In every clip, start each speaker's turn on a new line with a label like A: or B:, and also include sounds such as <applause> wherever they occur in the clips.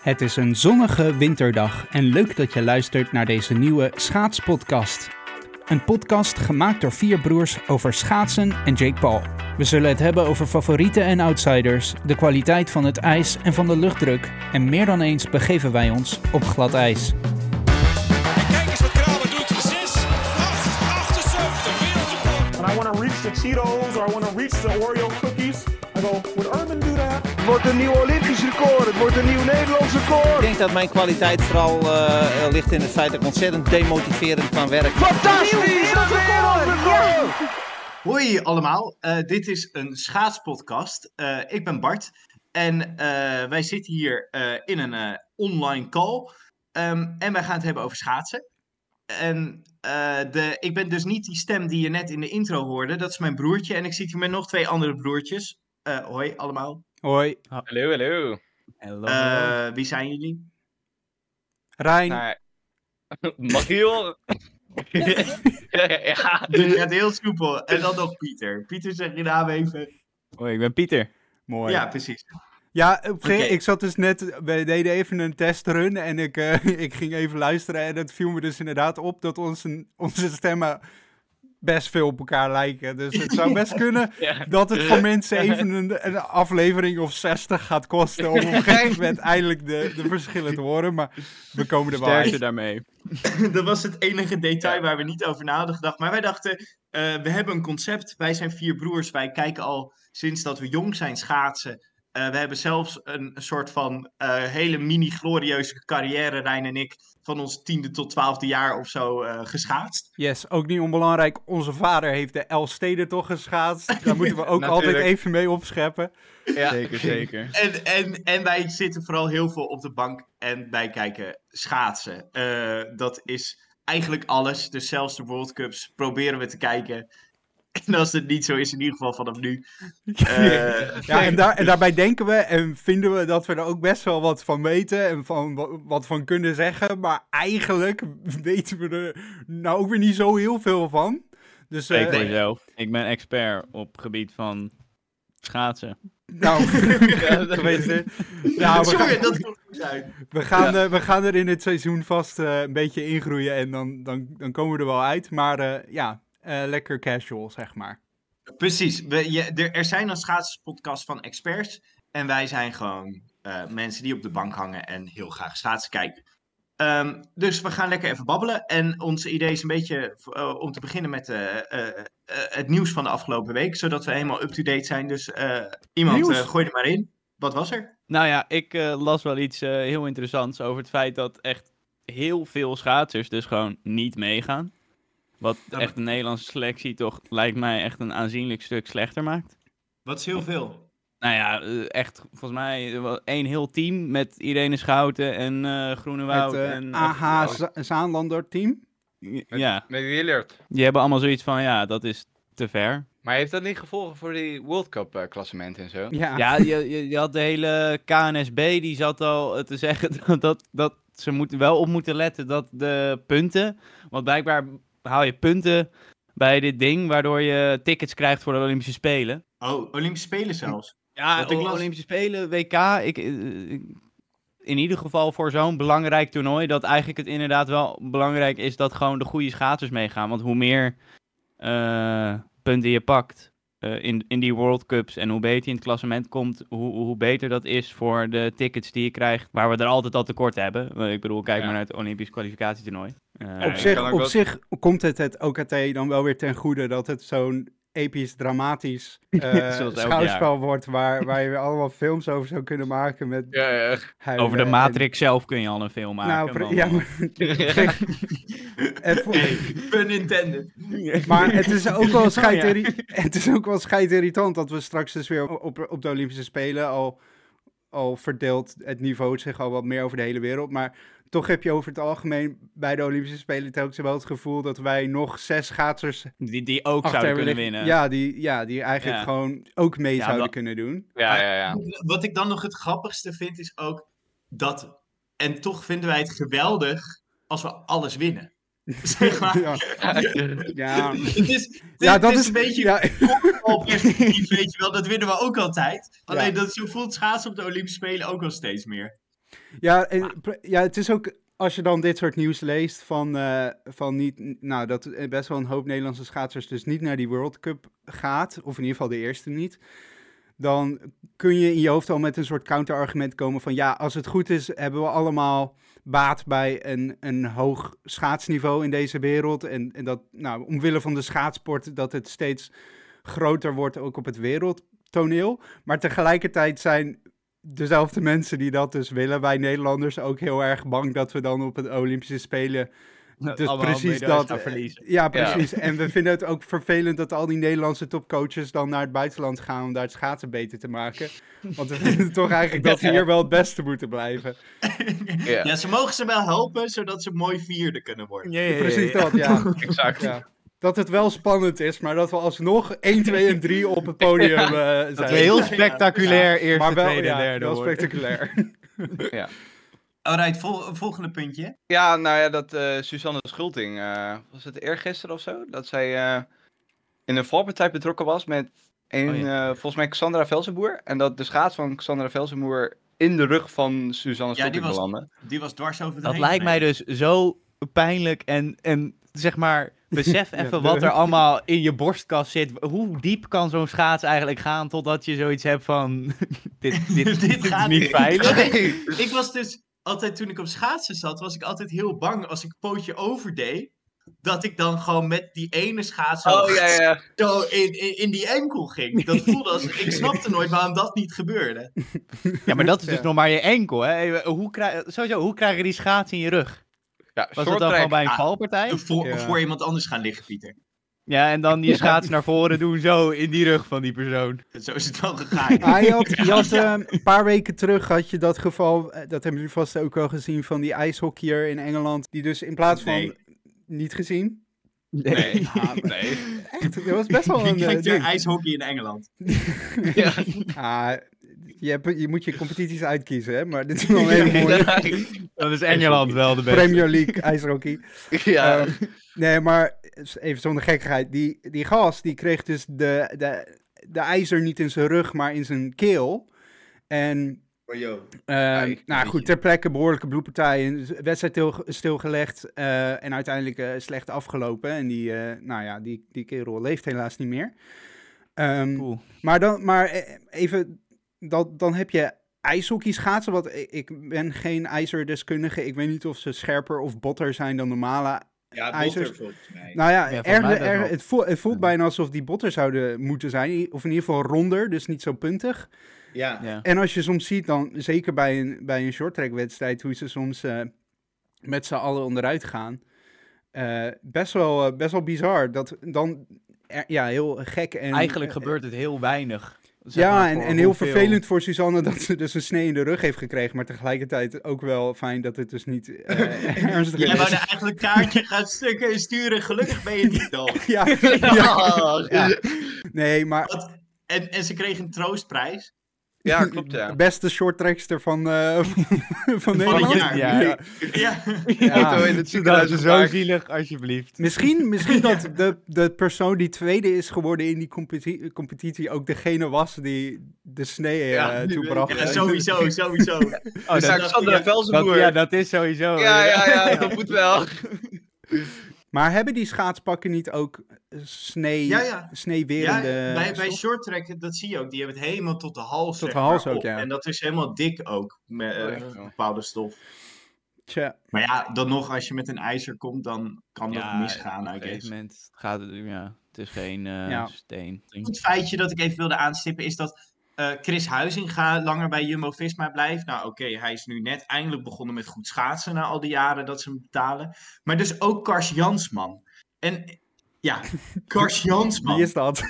A: Het is een zonnige winterdag en leuk dat je luistert naar deze nieuwe schaatspodcast. Een podcast gemaakt door vier broers over schaatsen en Jake Paul. We zullen het hebben over favorieten en outsiders, de kwaliteit van het ijs en van de luchtdruk. En meer dan eens begeven wij ons op glad ijs.
B: En kijk eens wat Kramer doet. 6, 8, 78, wereldrecord.
C: and I want to reach the Cheetos or I want to reach the Oreo cookies. I go, would Urban do that?
D: Het wordt een nieuw Olympisch record. Het wordt een nieuw Nederlands record.
E: Ik denk dat mijn kwaliteit vooral eh, ligt in het feit dat ik ontzettend demotiverend kan werken.
D: Fantastisch! Een wereldrecord!
F: Hoi allemaal, eh, dit is een schaatspodcast. Eh, ik ben Bart en eh, wij zitten hier eh, in een eh, online call. Ehm, en wij gaan het hebben over schaatsen. En eh, de, ik ben dus niet die stem die je net in de intro hoorde. Dat is mijn broertje en ik zit hier met nog twee andere broertjes. Eh, hoi allemaal.
A: Hoi,
G: Hallo, hallo.
F: Eh, wie zijn jullie?
A: Rijn.
G: Nou, <laughs> Mariel. ja,
F: Het gaat heel soepel. En dan nog Pieter. Pieter zeg je naam even.
H: Hoi, ik ben Pieter.
A: Mooi.
F: Ja, precies.
H: Ja, op een
F: Oké.
H: gegeven- ik zat dus net, we deden even een testrun en ik, eh, <laughs> ik ging even luisteren en het viel me dus inderdaad op dat onze, onze stemmen best veel op elkaar lijken. Dus het zou best kunnen
G: Ja.
H: dat het voor mensen even een, een aflevering of 60 gaat kosten om op een gegeven moment eindelijk de, de verschillen te horen, maar we komen er wel uit.
I: daarmee.
F: <laughs> dat was het enige detail waar we niet over na hadden gedacht. Maar wij dachten, eh, we hebben een concept. Wij zijn vier broers. Wij kijken al sinds dat we jong zijn schaatsen. Eh, we hebben zelfs een soort van eh, hele mini-glorieuze carrière, Rijn en ik, van ons tiende tot twaalfde jaar of zo eh, geschaatst.
H: Yes, ook niet onbelangrijk, onze vader heeft de Elsteden toch geschaatst, daar moeten we ook altijd
G: Natuurlijk.
H: even mee opscheppen.
I: Zeker, zeker.
F: En, en, en wij zitten vooral heel veel op de bank en wij kijken schaatsen. Eh, dat is eigenlijk alles. Dus zelfs de World Cups proberen we te kijken. <laughs> En als het niet zo is, in ieder geval vanaf nu. Eh,
H: Ja, en, daar, en daarbij denken we en vinden we dat we er ook best wel wat van weten en van, wa- wat van kunnen zeggen. Maar eigenlijk <laughs> weten we er nou ook weer niet zo heel veel van. Dus eh,
I: Spreek voor jezelf. Ik ben expert op het gebied van schaatsen.
H: nou, <laughs> geweest hè. Ja, we,
F: <laughs> Sorry,
H: gaan, <laughs>
F: dat komt goed uit.
H: we, gaan, eh, we gaan er in het seizoen vast eh, een beetje ingroeien en dan, dan, dan komen we er wel uit. Maar eh, ja, eh, lekker casual, zeg maar.
F: Precies. We, je, er, er zijn een schaatspodcast van experts. En wij zijn gewoon eh, mensen die op de bank hangen en heel graag schaatsen kijken. Ehm, dus we gaan lekker even babbelen. En ons idee is een beetje eh, om te beginnen met eh, eh, eh, het nieuws van de afgelopen week. Zodat we helemaal up-to-date zijn. Dus eh, iemand
H: Nieuws?
F: eh, gooi er maar in. Wat was er?
I: Nou ja, ik eh, las wel iets eh, heel interessants over het feit dat echt heel veel schaatsers dus gewoon niet meegaan. Wat echt de Nederlandse selectie toch lijkt mij echt een aanzienlijk stuk slechter maakt.
F: Wat is heel veel.
I: Nou ja, eh, echt volgens mij eh, wel één heel team met Irene Schouten en eh Groenewoud.
H: het eh,
I: en,
H: AH Za- Zaanlander team.
I: Ja,
G: Met Willard.
I: die hebben allemaal zoiets van, ja, dat is te ver.
G: Maar heeft dat niet gevolgen voor die World Cup eh, klassement en zo?
H: Ja,
I: Ja, je, je, je had de hele KNSB, die zat al eh, te zeggen <laughs> dat, dat, dat ze moeten wel op moeten letten dat de punten... Want blijkbaar haal je punten bij dit ding, waardoor je tickets krijgt voor de Olympische Spelen.
F: Oh, Olympische Spelen zelfs.
I: Ja,
F: Dat ik
I: o-
F: las.
I: Olympische Spelen, WK, ik... eh, ik- in ieder geval voor zo'n belangrijk toernooi, dat eigenlijk het inderdaad wel belangrijk is dat gewoon de goede schaatsers meegaan. Want hoe meer eh, punten je pakt eh, in, in die World Cups en hoe beter je in het klassement komt, hoe, hoe beter dat is voor de tickets die je krijgt, waar we er altijd al tekort hebben. Eh, Ik bedoel, kijk
G: Ja.
I: maar naar het Olympisch kwalificatietoernooi. Eh,
H: Op
G: Ja, je kan
H: zich,
G: ook
H: op
G: wel-
H: zich komt het het OKT dan wel weer ten goede dat het zo'n episch, dramatisch eh,
I: Zoals elk
H: schouwspel wordt
I: <laughs>
H: waar, waar je weer allemaal films over zou kunnen maken met
G: Ja, ja.
H: huilen
I: Over de
H: en-
I: Matrix zelf kun je al een film maken.
H: eh, Nou, pre-
I: want-
H: ja, maar, en voor-
F: Pun intended.
H: maar het is ook
I: Oh
H: wel scheidirri- <laughs> het is ook wel scheidirritant dat we straks dus weer op, op de Olympische Spelen al, al verdeelt het niveau zich al wat meer over de hele wereld. Maar toch heb je over het algemeen bij de Olympische Spelen telkens wel het gevoel dat wij nog zes schaatsers
I: die, die ook
H: achter
I: zouden
H: hebben
I: kunnen
H: liggen.
I: winnen.
H: Ja, die, ja, die eigenlijk
I: Ja.
H: gewoon ook mee
I: Ja,
H: zouden
I: dat-
H: kunnen doen.
G: ja, ja, ja.
F: Wat ik dan nog het grappigste vind is ook dat. En toch vinden wij het geweldig als we alles winnen. <laughs> Zeg maar.
H: Ja, ja.
F: <laughs> Het is, het
H: ja
F: is-
H: dat
F: het
H: is
F: een beetje
H: Ja,
F: al perspectief, weet je wel. Dat winnen we ook altijd. Alleen
H: Ja.
F: dat, zo voelt schaatsen op de Olympische Spelen ook al steeds meer.
H: Ja, en, pr- ja, het is ook als je dan dit soort nieuws leest van, eh, van niet, nou, dat eh, best wel een hoop Nederlandse schaatsers dus niet naar die World Cup gaat, of in ieder geval de eerste niet. Dan kun je in je hoofd al met een soort counterargument komen van ja, als het goed is, hebben we allemaal baat bij een, een hoog schaatsniveau in deze wereld. En, en dat, nou, omwille van de schaatsport, dat het steeds groter wordt ook op het wereldtoneel. Maar tegelijkertijd zijn dezelfde mensen die dat dus willen, wij Nederlanders ook heel erg bang dat we dan op het Olympische Spelen. Dus
I: Nou, allemaal
H: precies
I: medailles
H: dat.
I: gaan verliezen.
H: Ja, precies. En we vinden het ook vervelend dat al die Nederlandse topcoaches dan naar het buitenland gaan om daar het schaatsen beter te maken. Want we vinden toch eigenlijk dat ze hier wel het beste moeten blijven.
G: Ja,
F: Ja, ze mogen ze wel helpen, zodat ze mooi vierde kunnen worden.
H: Precies dat, ja.
G: exact.
H: ja. Dat het wel spannend is, maar dat we alsnog 1, 2 en 3 op het podium eh, zijn.
I: Dat we heel spectaculair eerste,
H: maar wel,
I: tweede,
H: ja,
I: derde
H: wel
I: worden.
H: spectaculair.
F: Alright, vol- volgende puntje.
G: Ja, nou ja, dat eh Suzanne Schulting, eh, was het eergisteren of zo? Dat zij eh, in een valpartij betrokken was met een,
I: Oh
G: eh, volgens mij Cassandra Velsenboer. En dat de schaats van Cassandra Velsenboer in de rug van Suzanne
F: Ja, die
G: Schulting
F: was-
G: belandde.
F: Die was dwars over de
I: Dat
F: heen
I: lijkt mij
F: gereden.
I: dus zo pijnlijk en, en zeg maar, <laughs> besef
H: Ja,
I: even wat er
H: de-
I: allemaal in je borstkast zit. Hoe diep kan zo'n schaats eigenlijk gaan totdat je zoiets hebt van, <laughs>
H: <laughs>
I: dit, dit,
F: Dit
I: dit is
F: gaat
I: niet
F: niet.
I: veilig.
F: Ik was dus altijd, toen ik op schaatsen zat, was ik altijd heel bang als ik pootje overdeed. Dat ik dan gewoon met die ene schaats
G: Oh ja, ja.
F: zo in, in, in die enkel ging. Dat voelde als. Ik snapte nooit waarom dat niet gebeurde.
I: <laughs> Ja, maar dat is dus
H: Ja.
I: nog maar je enkel, hè. Hoe krijg, sowieso, hoe krijg je die schaats in je rug?
G: ja
I: Was
G: short
I: dat dan
G: track.
I: gewoon bij een
F: Ah.
I: valpartij?
F: Voor,
H: Ja.
F: voor iemand anders gaan liggen, Pieter.
I: Ja, en dan je schaats naar voren doen, zo, in die rug van die persoon.
F: Zo is het wel gegaan.
H: Ah, je had, je had, eh, een paar weken terug had je dat geval, eh, dat hebben jullie vast ook wel gezien, van die ijshockeyer in Engeland. Die dus in plaats van...
F: Nee.
H: Niet gezien?
G: Nee, nee.
H: Echt, dat was best
F: <laughs>
H: wel een...
F: Wie
H: eh,
F: kijkt er
H: ding.
F: ijshockey in Engeland?
I: <laughs>
H: Ah, je, hebt- je moet je competities uitkiezen, hè? maar dit is wel een hele mooie
I: Dan is Engeland <laughs> wel Eh, de beste.
H: Premier League <laughs> ijshockey.
G: ja.
H: Ehm, <laughs> nee, maar even zonder gekkigheid. Die, die gast die kreeg dus de, de, de ijzer niet in zijn rug, maar in zijn keel. En
F: Oh,
H: Ehm,
G: Ai,
H: nou goed, ter plekke behoorlijke bloedpartij. Een z- wedstrijd til- stilgelegd eh, en uiteindelijk eh, slecht afgelopen. En die, eh, nou ja, die, die kerel leeft helaas niet meer. Ehm,
I: Poeh.
H: maar dan, maar eh, even, dat, dan heb je ijshockey schaatsen. Want i- ik ben geen ijzerdeskundige. Ik weet niet of ze scherper of botter zijn dan normale
F: Ja,
H: ijzers.
I: dus-
F: volgens mij.
H: Nou ja,
I: Ja, volgens
H: erger-
I: mij best
H: erger-
I: wel.
H: het, voelt, het voelt bijna alsof die botter zouden moeten zijn. Of in ieder geval ronder, dus niet zo puntig.
F: Ja.
I: Ja.
H: En als je soms ziet dan, zeker bij een, bij een shorttrackwedstrijd, hoe ze soms eh, met z'n allen onderuit gaan. eh, best, wel, eh, best wel bizar. Dat dan, eh, ja, heel gek. En,
I: Eigenlijk
H: eh,
I: gebeurt het heel weinig. zeg
H: Ja,
I: maar,
H: en,
I: voor
H: en heel
I: hoeveel-
H: vervelend voor Suzanne dat ze dus een snee in de rug heeft gekregen. Maar tegelijkertijd ook wel fijn dat het dus niet eh,
I: <laughs>
H: ernstig
F: Jij wou
H: is.
F: nou eigenlijk kaartje gaan stukken sturen. Gelukkig ben je niet dood. <laughs>
H: Ja,
F: Oh,
H: ja, ja. Nee, maar
F: Wat- En, en ze kreeg een troostprijs.
G: ja, klopt ja.
H: beste shorttrackster van,
A: <laughs>
H: eh, van Nederland.
F: jaar.
I: Ja, ja.
F: Ja.
G: Auto in het
I: Dat
G: ziekenhuis
I: is zo
G: geparkeerd.
I: zielig, alsjeblieft.
H: Misschien, misschien dat de,
A: <laughs>
H: de persoon die tweede is geworden in die competi- competitie ook degene was die de snee eh,
G: Ja, die
H: toebracht.
F: Ja, sowieso, sowieso.
I: Oh,
G: Dus
I: dat,
G: Cassandra
I: dat-
G: Velsenboer.
I: ja, dat is sowieso.
G: ja, ja, <laughs> ja, dat moet wel.
H: Maar hebben die schaatspakken niet ook eh, snee,
F: Ja, ja. Ja,
H: sneewerende
F: bij, bij
H: stof?
F: short track, dat zie je ook. Die hebben het helemaal tot de hals.
H: Tot de
F: zeg
H: hals
F: maar,
H: ook,
F: op.
H: ja.
F: En dat is helemaal dik ook. Met eh,
G: Oh, echt wel.
F: bepaalde stof.
H: Tja.
F: Maar ja, dan nog, als je met een ijzer komt, dan kan dat misgaan,
I: Op
F: I
I: een
F: guess.
I: gegeven moment gaat het, ja, het is geen eh,
H: Ja.
I: steen.
F: Een goed feitje dat ik even wilde aanstippen is dat eh, Chris Huizinga langer bij Jumbo-Visma blijft. Nou oké, hij is nu net eindelijk begonnen met goed schaatsen na al die jaren dat ze hem betalen. Maar dus ook Kars Jansman. En eh, ja, Kars Jansman.
H: Wie
F: <laughs>
H: is dat?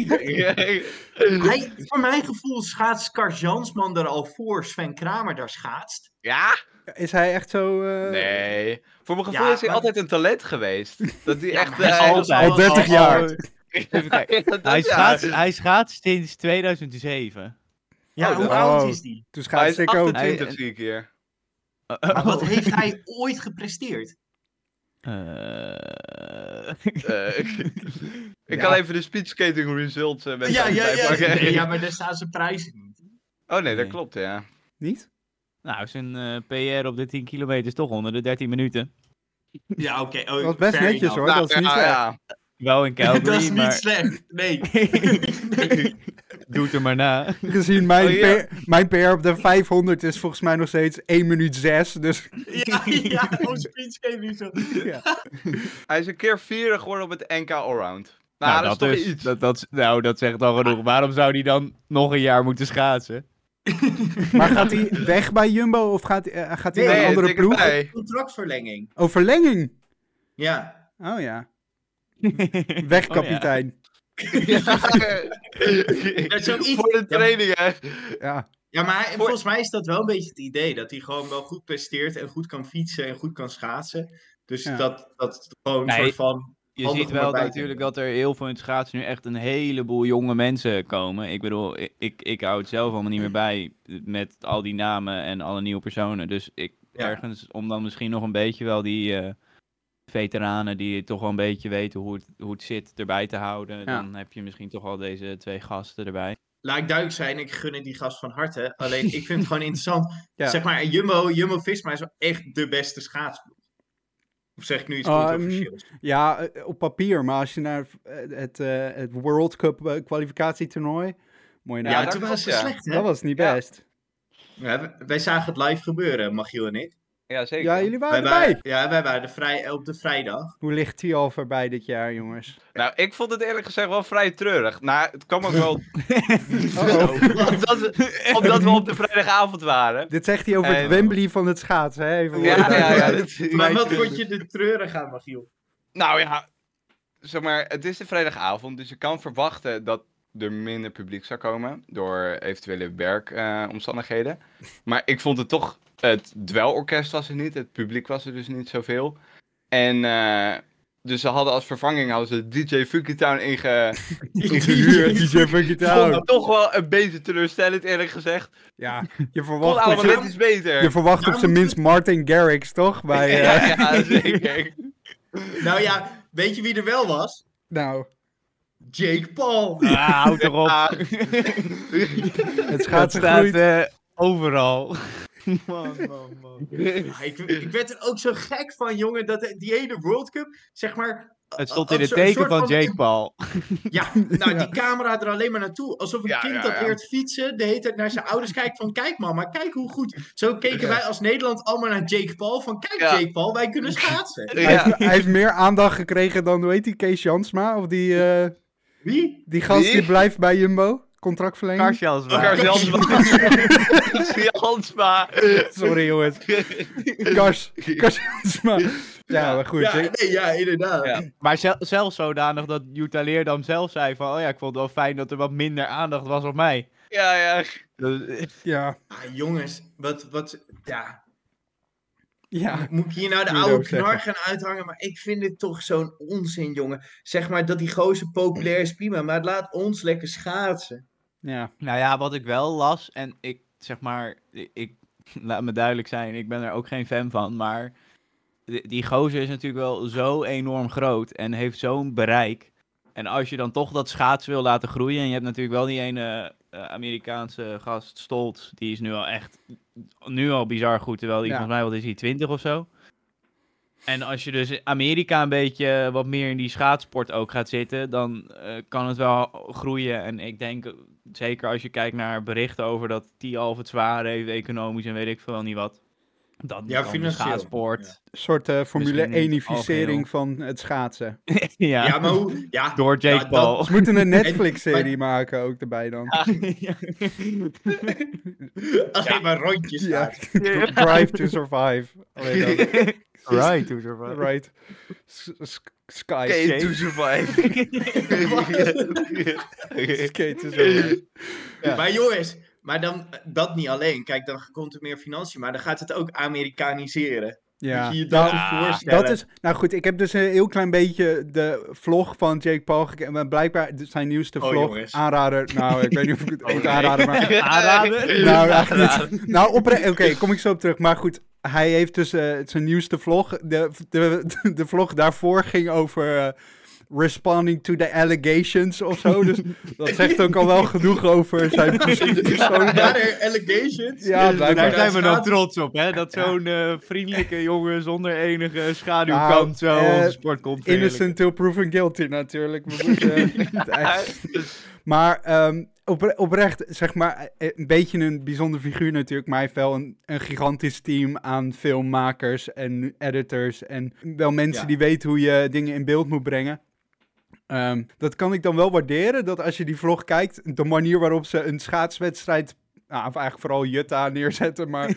H: <laughs>
F: hij, voor mijn gevoel schaatst Kars Jansman er al voor Sven Kramer daar schaatst.
G: Ja?
H: Is hij echt zo... eh,
G: Nee. Voor mijn gevoel
F: Ja,
G: is hij
F: maar-
G: altijd een talent geweest. Dat hij echt...
F: maar hij is
G: eh,
I: altijd.
H: Al 30
F: Oh,
H: jaar.
G: <laughs>
I: Even kijken.
G: Ja, dat-
I: Hij
G: ja.
I: schaats, hij schaatst sinds 2007.
F: Ja,
G: Oh,
F: hoe
G: dat-
F: oud
H: oh.
F: is die?
H: Toen
G: Hij
H: schaats
G: is
H: ik ook.
G: 28
I: Hij-
G: zie ik hier.
F: Maar
I: <laughs>
F: wat heeft hij ooit gepresteerd?
I: Eh, <laughs>
G: Eh, ik ik
H: Ja.
G: kan even de speedskating results eh, met
F: Ja, ja, ja,
G: erbij pakken.
F: <laughs> Nee, ja, maar daar staan zijn prijzen niet.
G: <laughs> Oh nee, dat
I: Nee.
G: klopt, ja.
H: Niet?
I: Nou, zijn eh, PR op de 10 kilometer is toch onder de 13 minuten.
F: Ja, oké.
A: Dat
F: Oh,
A: was best
F: fair
A: netjes
F: enough.
A: hoor,
G: Nou,
A: dat is niet
G: ja,
A: slecht.
G: ja.
I: Wel in
F: <laughs>
I: Calgary,
F: Dat is niet
I: maar
F: slecht. Nee. <laughs>
I: doet er maar na.
A: Gezien mijn,
I: Oh, ja.
A: PR, mijn PR op de 500 is volgens mij nog steeds 1 minuut 6. Dus
F: ja, ja, oh, speech game niet zo.
G: Hij is een keer vierde geworden op het NK Allround. Nou,
I: <laughs> Nou,
G: dat,
I: dat,
G: is
I: is-
G: toch iets.
I: dat, dat, nou, dat zegt al genoeg. Waarom zou hij dan nog een jaar moeten schaatsen?
A: Maar gaat hij weg bij Jumbo of gaat, eh, gaat hij
F: Nee,
A: naar een andere
G: ik denk
A: ploeg?
G: het <laughs> bij.
F: Contractverlenging.
A: Oh, verlenging.
F: Ja.
A: Oh <laughs> ja.
I: Weg,
A: Weg,
I: Oh,
A: kapitein.
F: <laughs> Dat is ook iets-
G: Voor de training, hè.
A: ja.
F: Ja, maar hij- volgens mij is dat wel een beetje het idee. Dat hij gewoon wel goed presteert en goed kan fietsen en goed kan schaatsen. Dus
A: Ja.
F: dat, dat gewoon een
I: Nee,
F: soort van...
I: Je
F: Handig
I: ziet
F: om erbij
I: wel
F: te
I: natuurlijk dat er heel veel in het schaatsen nu echt een heleboel jonge mensen komen. Ik bedoel, ik, ik, ik hou het zelf allemaal niet meer bij met al die namen en alle nieuwe personen. Dus ik
F: Ja.
I: ergens om dan misschien nog een beetje wel die eh, veteranen die toch wel een beetje weten hoe het, hoe het zit erbij te houden. Dan heb je misschien toch al deze twee gasten erbij.
F: Laat ik duidelijk zijn, ik gun het die gast van harte. Alleen, ik vind het gewoon interessant.
A: <laughs> Ja.
F: Zeg maar, Jumbo, Jumbo-Visma is wel echt de beste schaatsploeg. Of zeg ik nu iets
A: Oh,
F: controversieels?
A: ja, eh, op papier. Maar als je naar eh, het, eh, het World Cup eh, kwalificatietoernooi... Moet je naar...
F: ja,
G: dat
F: toen was
G: klopt,
F: het
G: ja.
F: slecht, hè?
A: dat was niet
G: Ja.
A: best.
F: Ja, wij- wij zagen het live gebeuren, Machiel en ik.
G: Ja, zeker.
A: Ja, jullie waren
F: wij
A: erbij.
F: Waren, ja, wij waren de vrij, op de vrijdag.
A: Hoe ligt die al voorbij dit jaar, jongens?
G: Nou, ik vond het eerlijk gezegd wel vrij treurig. Nou, het kwam ook <laughs> wel... omdat, we, omdat we op de vrijdagavond waren.
A: Dit zegt hij over het
G: Eh,
A: Wembley van het schaatsen, hè? Even
G: Ja,
A: worden
G: <laughs> ja, ja.
A: duidelijk.
G: dat-
F: Maar wat vond je de treurig aan, Machiel?
G: Nou ja, zeg maar, het is de vrijdagavond, dus je kan verwachten dat er minder publiek zou komen door eventuele
A: <laughs>
G: werkomstandigheden. maar ik vond het toch, het dwelorkest was er niet, het publiek was er dus niet zoveel. En eh, dus ze hadden als vervanging hadden ze DJ Funky Town
A: <laughs>
G: inge ingehuurd.
A: DJ Funky
G: Ik vond
A: Town.
G: het toch wel een beetje teleurstellend eerlijk gezegd.
A: Ja, je
G: Kon
A: verwacht, op
G: allemaal
A: zijn,
G: net iets beter.
A: je verwacht op zijn minst Martin Garrix, toch? Bij, eh,
G: <laughs> ja,
A: <laughs>
G: ja, zeker.
F: Nou ja, weet je wie er wel was?
A: Nou,
F: Jake Paul.
I: Ah, houd erop.
A: <laughs>
G: Ah. <laughs>
A: het
I: Dat
A: schaatsen
I: staat
A: groeit.
I: eh, overal.
F: Ja, ik, ik werd er ook zo gek van, jongen, dat de- die hele World Cup, zeg maar...
I: Het
F: a-
I: stond
F: a-
I: in het
F: zo- een
I: teken
F: soort
I: van Jake <laughs> Paul.
F: Ja,
I: <laughs>
F: nou, die camera er alleen maar naartoe. Alsof een
G: Ja,
F: kind
G: ja,
F: dat
G: ja.
F: leert fietsen, de hele tijd naar zijn ouders kijkt van... Kijk mama, kijk hoe goed. Zo keken wij als Nederland allemaal naar Jake Paul van... Kijk
G: Ja.
F: Jake Paul, wij
G: <laughs>
F: kunnen schaatsen.
A: Hij,
G: Ja.
A: heeft, hij heeft meer aandacht gekregen dan, hoe heet die, Kees Jansma? Of die, eh,
F: Wie?
A: die gast die
G: Wie?
A: blijft bij Jumbo? Contractverlenging?
I: Karsjans,
G: Elkaar
I: maar.
G: zelfs Jansma.
F: <laughs>
A: Sorry jongens. Kars, Kars Jansma. Ja, maar goed.
F: Ja,
A: ik-
F: nee, ja, inderdaad.
G: Ja.
I: Maar zel- zelfs zodanig dat Jutta Leerdam zelf zei van... Oh ja, ik vond het wel fijn dat er wat minder aandacht was op mij.
G: Ja, ja.
I: Dus-
A: ja.
F: Ah, jongens, wat, wat, ja.
A: ja.
F: Moet ik hier nou de
A: Moet je
F: oude
A: ook zeggen.
F: knar gaan uithangen? Maar ik vind dit toch zo'n onzin, jongen. Zeg maar dat die gozer populair is, prima. Maar laat ons lekker schaatsen.
A: Ja.
I: nou ja, wat ik wel las en ik zeg maar... ik- Ik, laat me duidelijk zijn, ik ben er ook geen fan van, maar... di- Die gozer is natuurlijk wel zo enorm groot en heeft zo'n bereik. En als je dan toch dat schaatsen wil laten groeien... en je hebt natuurlijk wel die ene eh, Amerikaanse gast, Stoltz... die is nu al echt... nu al bizar goed, terwijl die
A: Ja.
I: volgens mij... wat is hij, 20 of zo? En als je dus in Amerika een beetje eh, wat meer in die schaatsport ook gaat zitten, dan eh, kan het wel groeien. En ik denk, eh, zeker als je kijkt naar berichten over dat die al het zwaar heeft, economisch en weet ik veel niet wat. Dan
F: Ja,
I: kan de
F: financieel,
I: schaatsport.
A: Een soort eh, Formule
I: Misschien niet
A: 1-ificering van het
F: <laughs>
A: schaatsen.
I: Ja.
F: Ja, maar hoe?
A: <laughs>
F: Ja,
I: Door Jake
F: Ja, dat- <laughs>
I: <laughs> Paul.
A: Ze moeten een Netflix-serie maken ook erbij dan.
I: Ja.
F: alleen maar rondjes.
A: Ja.
F: schaatsen.
A: Drive <laughs> to survive.
F: <laughs>
A: Alleen dan.
I: Right, hoe ze van-
A: Right. S- s- Sky.
G: Skate to
A: <laughs>
G: survive.
A: Skate is
F: <laughs>
A: wel-
F: Maar jongens, maar dan eh, dat niet alleen. Kijk, dan komt er meer financiën, maar dan gaat het ook Amerikaniseren.
A: Ja.
F: Moet je je dat
A: Nou,
F: niet voorstellen.
A: dat is, nou goed, ik heb dus een heel klein beetje de vlog van Jake Paul gekeken. Maar blijkbaar zijn nieuwste
F: Oh,
A: vlog
F: jongens.
A: aanrader. Nou, ik weet niet of ik
F: <laughs>
A: het moet
G: nee.
A: aanraden,
I: <laughs>
A: maar...
I: Aanraden?
A: Nou, eigenlijk niet. Nou, opre- oké, kom ik zo op terug. Maar goed, hij heeft dus eh, zijn nieuwste vlog. De, de, de vlog daarvoor ging over eh, responding to the allegations of zo. Dus dat zegt ook al wel genoeg over zijn persoon.
F: <laughs> Ja, de allegations.
A: Ja,
I: Daar
A: blijkbaar.
I: zijn we dan trots op, hè? Dat zo'n eh, vriendelijke jongen zonder enige schaduwkant
A: Nou,
I: zo
A: eh,
I: onze sport komt.
A: Innocent till proven guilty natuurlijk. We moeten niet echt- Maar ehm, opre- oprecht, zeg maar, eh, een beetje een bijzonder figuur natuurlijk. Maar hij heeft wel een, een gigantisch team aan filmmakers en editors. En wel mensen
F: Ja.
A: die weten hoe je dingen in beeld moet brengen. Ehm, dat kan ik dan wel waarderen, dat als je die vlog kijkt, de manier waarop ze een schaatswedstrijd, nou, of eigenlijk vooral Jutta
I: <laughs>
A: neerzetten, maar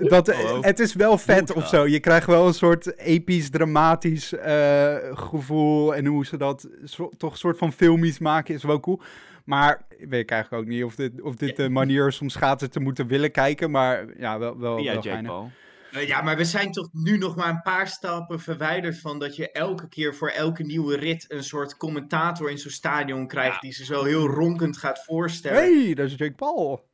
A: dat, het is wel vet of zo. Je krijgt wel een soort episch, dramatisch eh, gevoel. En hoe ze dat zo- toch een soort van filmisch maken is wel cool. Maar weet ik eigenlijk ook niet of dit, of dit de manier is om schaatsen te moeten willen kijken. Maar ja, wel, wel,
I: Ja,
A: wel
I: Jake
A: geinig.
I: Paul.
F: Nou ja, maar we zijn toch nu nog maar een paar stappen verwijderd van dat je elke keer voor elke nieuwe rit een soort commentator in zo'n stadion krijgt die ze zo heel ronkend gaat voorstellen.
A: Hey, dat is Jake Paul.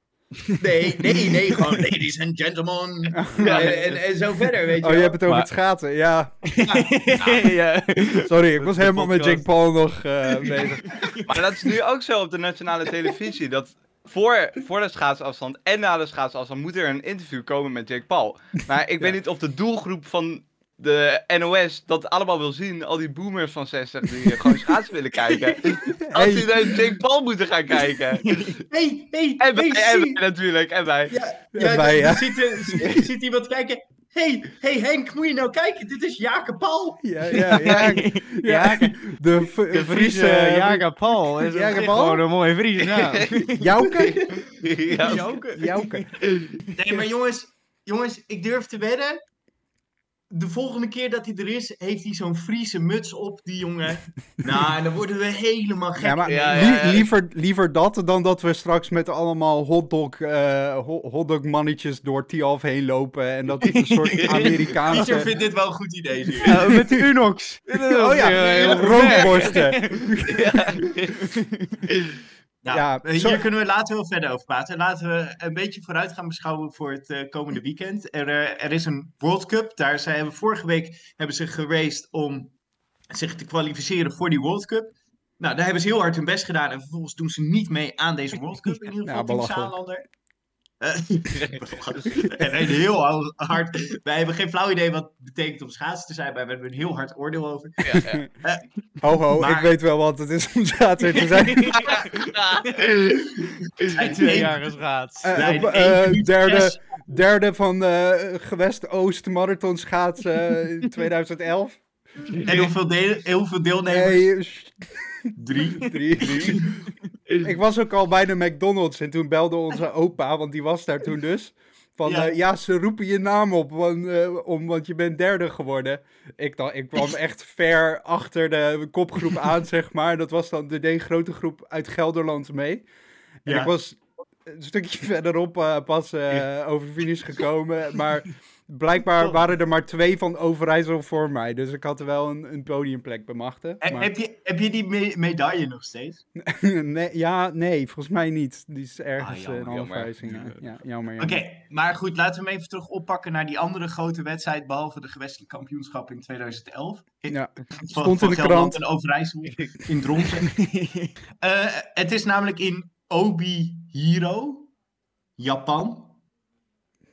F: Nee, nee,
A: <laughs>
F: nee, gewoon ladies and gentlemen. en, en, en zo verder, weet je
A: Oh, je
F: wel.
A: hebt het over
I: Maar-
A: het schaatsen. Ja,
I: <laughs>
A: <laughs>
I: ja.
A: sorry, ik was helemaal met
I: podcast.
A: Jake Paul nog eh, bezig.
G: Maar dat is nu ook zo op de nationale televisie. Dat voor, voor de schaatsafstand en na de schaatsafstand moet er een interview komen met Jake Paul. Maar ik weet niet of de doelgroep van de NOS dat allemaal wil zien. Al die boomers van 60 die
I: <laughs>
G: eh, gewoon schaatsen willen kijken. Als die naar Jake Paul moeten gaan kijken.
F: Hey, hey,
G: En wij,
F: hey,
G: en
F: zie-
G: wij natuurlijk, en wij.
F: Ja,
A: Ja,
F: ja,
A: wij,
F: er
A: ja.
F: Ziet, er ziet- ziet iemand kijken. hey, hey Henk, moet je nou kijken? Dit is Jacob Paul.
A: Ja, ja, <laughs> ja. ja. De, v-
I: De Friese
A: Friese... eh,
I: Jager Paul is
A: Jager
I: op zich
A: Paul?
I: gewoon een mooie Nou, Friese naam.
A: <laughs> Jouke?
G: <laughs> Ja.
A: Jouke.
F: Nee, maar jongens, jongens, ik durf te wedden. De volgende keer dat hij er is, heeft hij zo'n Friese muts op, die
A: <laughs>
F: jongen. nou, en dan worden we helemaal gek.
A: Ja, maar
G: Ja,
A: li-
G: ja, ja.
A: Liever, liever dat dan dat we straks met allemaal hotdog, eh, ho- hotdog-mannetjes door Tialf heen lopen. En dat het een soort
F: Pieter
A: Amerikaanse...
F: vindt dit wel een goed idee.
A: <laughs>
F: zie je.
I: Eh, met de Unox.
A: Oh ja, rookborsten.
F: Nou,
A: Ja,
F: eh,
A: zo-
F: hier kunnen we later wel verder over praten. Laten we een beetje vooruit gaan beschouwen voor het eh, komende weekend. Er, eh, er is een World Cup. Daar zijn we vorige week hebben ze geraced om zich te kwalificeren voor die World Cup. Nou, daar hebben ze heel hard hun best gedaan. En vervolgens doen ze niet mee aan deze World Cup. In
A: <laughs>
F: ieder
A: Ja,
F: geval Team
A: belachelijk.
F: Saarlander. Eh, <laughs> en een heel hard- hard. Wij hebben geen flauw idee wat het betekent om schaatsen te zijn. Maar we hebben een heel hard oordeel over. Eh,
A: <laughs> Ho ho, ik
F: Maar-
A: weet wel wat het is om zater te zijn.
F: <laughs>
I: Zijn twee jaren schaats.
A: Eh,
F: <laughs> Nee,
A: op,
F: de
A: eh,
F: één minuut
A: derde,
F: zes.
A: derde van eh Gewest Oost Marathon schaatsen in 2011.
F: En hoeveel, deel- hoeveel deelnemers?
A: Nee, sh- <laughs>
F: Drie.
A: drie, drie. Ik was ook al bij de McDonald's en toen belde onze opa, want die was daar toen dus. Van ja,
F: Ja.
A: ja ze roepen je naam op, want, eh, om, want je bent derde geworden. Ik, dacht, ik kwam echt ver achter de kopgroep aan, zeg maar. Dat was dan de deed een grote groep uit Gelderland mee. En
F: Ja.
A: ik was een stukje <laughs> verderop eh, pas eh, over de finish gekomen. Maar blijkbaar waren er maar twee van Overijssel voor mij. Dus ik had wel een, een podiumplek bemachtigd.
F: He-
A: Maar...
F: Heb, je, heb je die me- medaille nog steeds?
H: <laughs>
A: nee, ja, nee, volgens mij niet. Die is
F: Ah,
A: ergens eh,
F: jammer,
A: in alle
G: jammer.
A: verhuizingen. Ja, jammer, jammer.
F: Oké, maar goed, laten we hem even terug oppakken naar die andere grote wedstrijd, behalve de gewestelijke kampioenschap in 2011.
A: Ja.
F: <laughs> Van-
A: Stond
F: van
A: in de
F: Gelderland
A: krant.
F: En
A: <laughs>
F: Overijssel in Dronten. Eh, het is namelijk in Obihiro, Japan.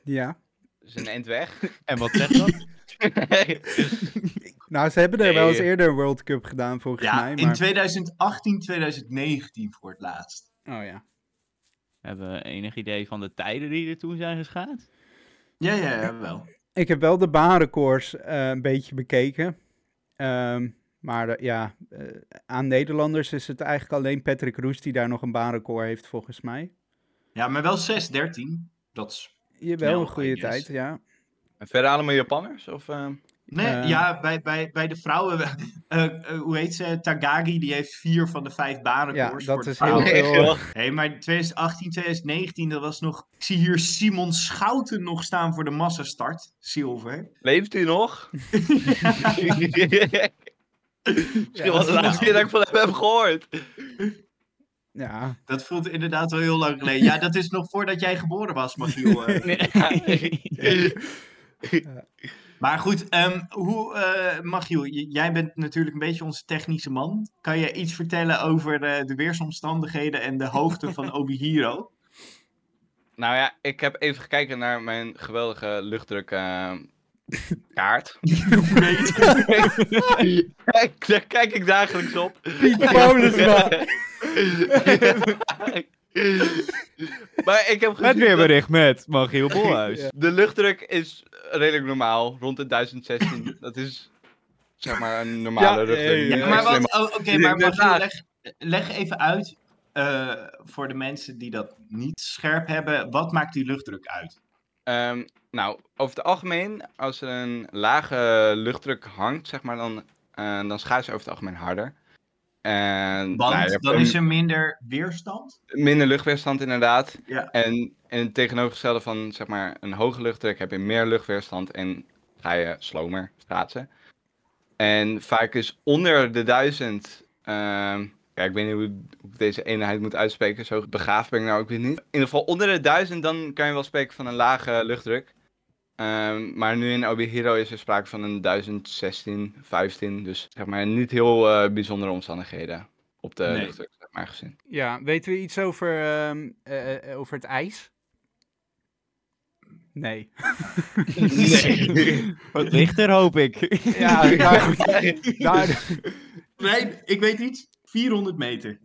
A: Ja.
G: Is een eind weg.
I: En wat zegt dat?
G: <laughs>
A: Nou, ze hebben er wel eens
G: Nee.
A: eerder een World Cup gedaan, volgens
F: Ja,
A: mij.
F: in
A: Maar...
F: 2018, 2019 voor het laatst.
A: Oh ja.
I: Hebben we enig idee van de tijden die er toen zijn geschaat?
F: Ja, ja, ja, wel.
A: Ik heb wel de baanrecords eh, een beetje bekeken. Ehm, maar eh, ja, eh, aan Nederlanders is het eigenlijk alleen Patrick Roes die daar nog een baanrecord heeft, volgens mij.
F: Ja, maar wel 6-13. Dat is...
A: Jawel,
F: Nou,
A: een goede
F: I guess.
A: tijd, ja.
G: En verder allemaal Japanners? Of, eh?
F: Nee,
A: Eh.
F: ja, bij, bij, bij de vrouwen, <laughs> eh, eh, hoe heet ze? Tagagi, die heeft vier van de vijf banen.
A: Ja, dat is heel
G: vrouwen.
F: <laughs>
A: veel. eh,
F: Hé, maar 2018, 2019, dat was nog... Ik zie hier Simon Schouten nog staan voor de massastart. Zilver.
G: Leeft u nog? Misschien was het de laatste keer dat ik van hem heb gehoord.
A: Ja,
F: Dat voelt inderdaad wel heel lang geleden. Ja, dat is
A: <laughs>
F: nog voordat jij geboren was, Magiel. eh.
I: Nee.
F: Maar goed, ehm, hoe, eh Machiel, j- jij bent natuurlijk een beetje onze technische man. Kan je iets vertellen over eh, de weersomstandigheden en de hoogte
A: <laughs>
F: van Obihiro?
G: Nou ja, ik heb even gekeken naar mijn geweldige luchtdruk eh, kaart. Kijk, daar kijk ik dagelijks op.
I: Paulusma.
G: <laughs> maar ik heb
I: Met
G: gezien dat
I: weerbericht met Magiel Bolhuis.
G: de luchtdruk is redelijk normaal, rond de
F: <laughs>
G: 1016. dat is zeg maar een normale
H: Ja,
G: luchtdruk.
H: ja, ja.
G: niet
F: Ja, maar
G: extreem
F: wat, oh, oké,
G: Ik
F: maar
G: ben
F: Machiel,
G: graag.
F: leg, leg even uit eh, voor de mensen die dat niet scherp hebben. Wat maakt die luchtdruk uit?
G: Ehm, nou, over het algemeen, als er een lage luchtdruk hangt, zeg maar, dan, eh dan schaatsen over het algemeen harder. En,
F: Want
G: nou, je hebt
F: dan
G: een
F: is er minder weerstand.
G: minder luchtweerstand inderdaad.
F: Ja.
G: En, en het tegenovergestelde van zeg maar, een hoge luchtdruk heb je meer luchtweerstand en ga je slomer schaatsen. En vaak is onder de 1000, ehm, ja, ik weet niet hoe, hoe ik deze eenheid moet uitspreken, zo begaafd ben ik nou ook weer niet. In ieder geval onder de 1000 dan kan je wel spreken van een lage luchtdruk. Ehm, maar nu in Obihiro is er sprake van een 1016, 15, dus zeg maar niet heel eh, bijzondere omstandigheden op de
F: Nee.
G: luchtdruk, zeg maar gezien.
H: Ja, weten we iets over, ehm, eh, eh, over het ijs? Nee. <laughs>
I: Wat lichter hoop ik.
H: <laughs> Ja, maar goed. <laughs> Daar-
F: <laughs> Nee, ik weet iets. 400 meter.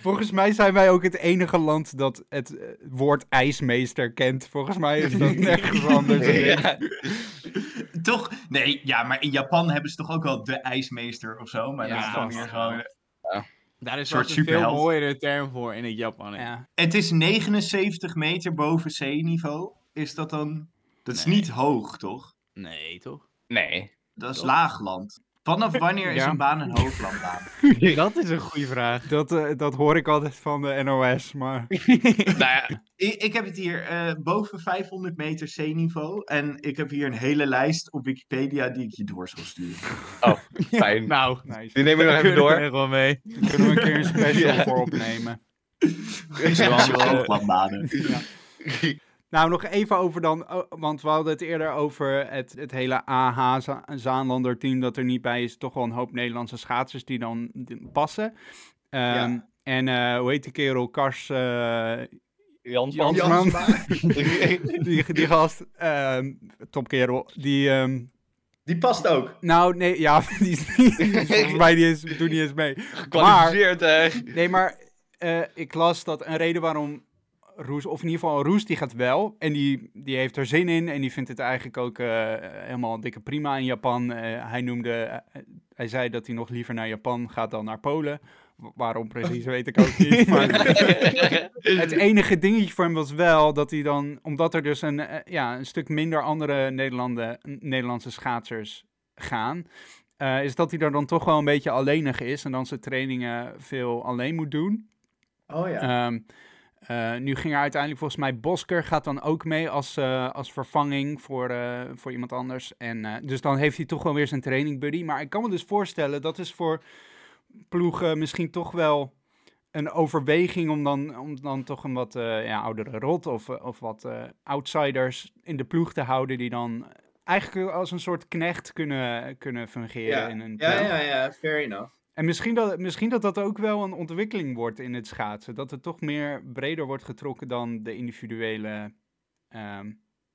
H: volgens mij zijn wij ook het enige land dat het eh, woord ijsmeester kent. Volgens mij is
F: <laughs>
H: dat nergens anders.
F: Toch? Nee, ja, maar in Japan hebben ze toch ook wel de ijsmeester of zo. Maar
I: Ja,
F: dat is dan
I: vast.
F: meer gewoon...
I: Daar is
F: Soort
I: vast een veel
F: superheld.
I: mooiere term voor in het Japan. hè.
H: Ja.
F: Het is 79 meter boven zeeniveau. Is dat dan... Dat is niet hoog, toch?
I: Nee, toch?
G: Nee.
F: Dat is laagland. Vanaf wanneer is
H: Ja.
F: een baan een hooglandbaan?
I: Dat is een goede vraag.
H: Dat, eh, dat hoor ik altijd van de NOS,
F: <laughs>
H: maar...
G: nou ja,
F: Ik, ik heb het hier eh, boven 500 meter zeeniveau. En ik heb hier een hele lijst op Wikipedia die ik je door zal
I: <laughs>
F: sturen.
G: fijn.
I: Nou,
H: Nice.
G: Die neem ik nog even
I: kunnen we
G: door.
I: er wel mee.
H: Daar kunnen we een keer een special voor opnemen. <laughs>
F: Zoals hooglandbanen.
H: Nou, nog even over dan, oh, want we hadden het eerder over het, het hele AH-Zaanlander team dat er niet bij is. Toch wel een hoop Nederlandse schaatsers die dan d- passen. Ehm,
G: Ja.
H: En eh, hoe heet die kerel? Kars eh
G: Jan
H: Jansman. die, die gast, ehm, topkerel. Die, ehm,
F: Die past ook.
H: nou nee, ja, <laughs> die is niet, die is volgens mij niet eens, doet niet eens mee.
G: Gekwalificeerd, hè.
H: Nee, maar eh, ik las dat een reden waarom Roes, of in ieder geval Roes, die gaat wel. En die, die heeft er zin in en die vindt het eigenlijk ook eh, helemaal dikke prima in Japan. Eh, hij noemde, eh, hij zei dat hij nog liever naar Japan gaat dan naar Polen. Wa- Waarom precies, weet ik ook niet. Maar het enige dingetje voor hem was wel dat hij dan, omdat er dus een, eh, ja, een stuk minder andere Nederlanden, Nederlandse schaatsers gaan, eh, is dat hij daar dan toch wel een beetje alleenig is en dan zijn trainingen veel alleen moet doen.
F: Oh ja.
H: Ehm, eh, nu ging er uiteindelijk volgens mij Bosker gaat dan ook mee als, eh, als vervanging voor, eh, voor iemand anders. En, eh, dus dan heeft hij toch wel weer zijn training buddy. Maar ik kan me dus voorstellen, dat is voor ploegen misschien toch wel een overweging om dan, om dan toch een wat eh, ja, oudere rot of, eh, of wat eh, outsiders in de ploeg te houden die dan eigenlijk als een soort knecht kunnen, kunnen fungeren in een ploeg.
F: ja, fair
H: <laughs>
F: enough.
H: En misschien dat, misschien dat dat ook wel een ontwikkeling wordt in het schaatsen. Dat het toch meer breder wordt getrokken dan de individuele ehm,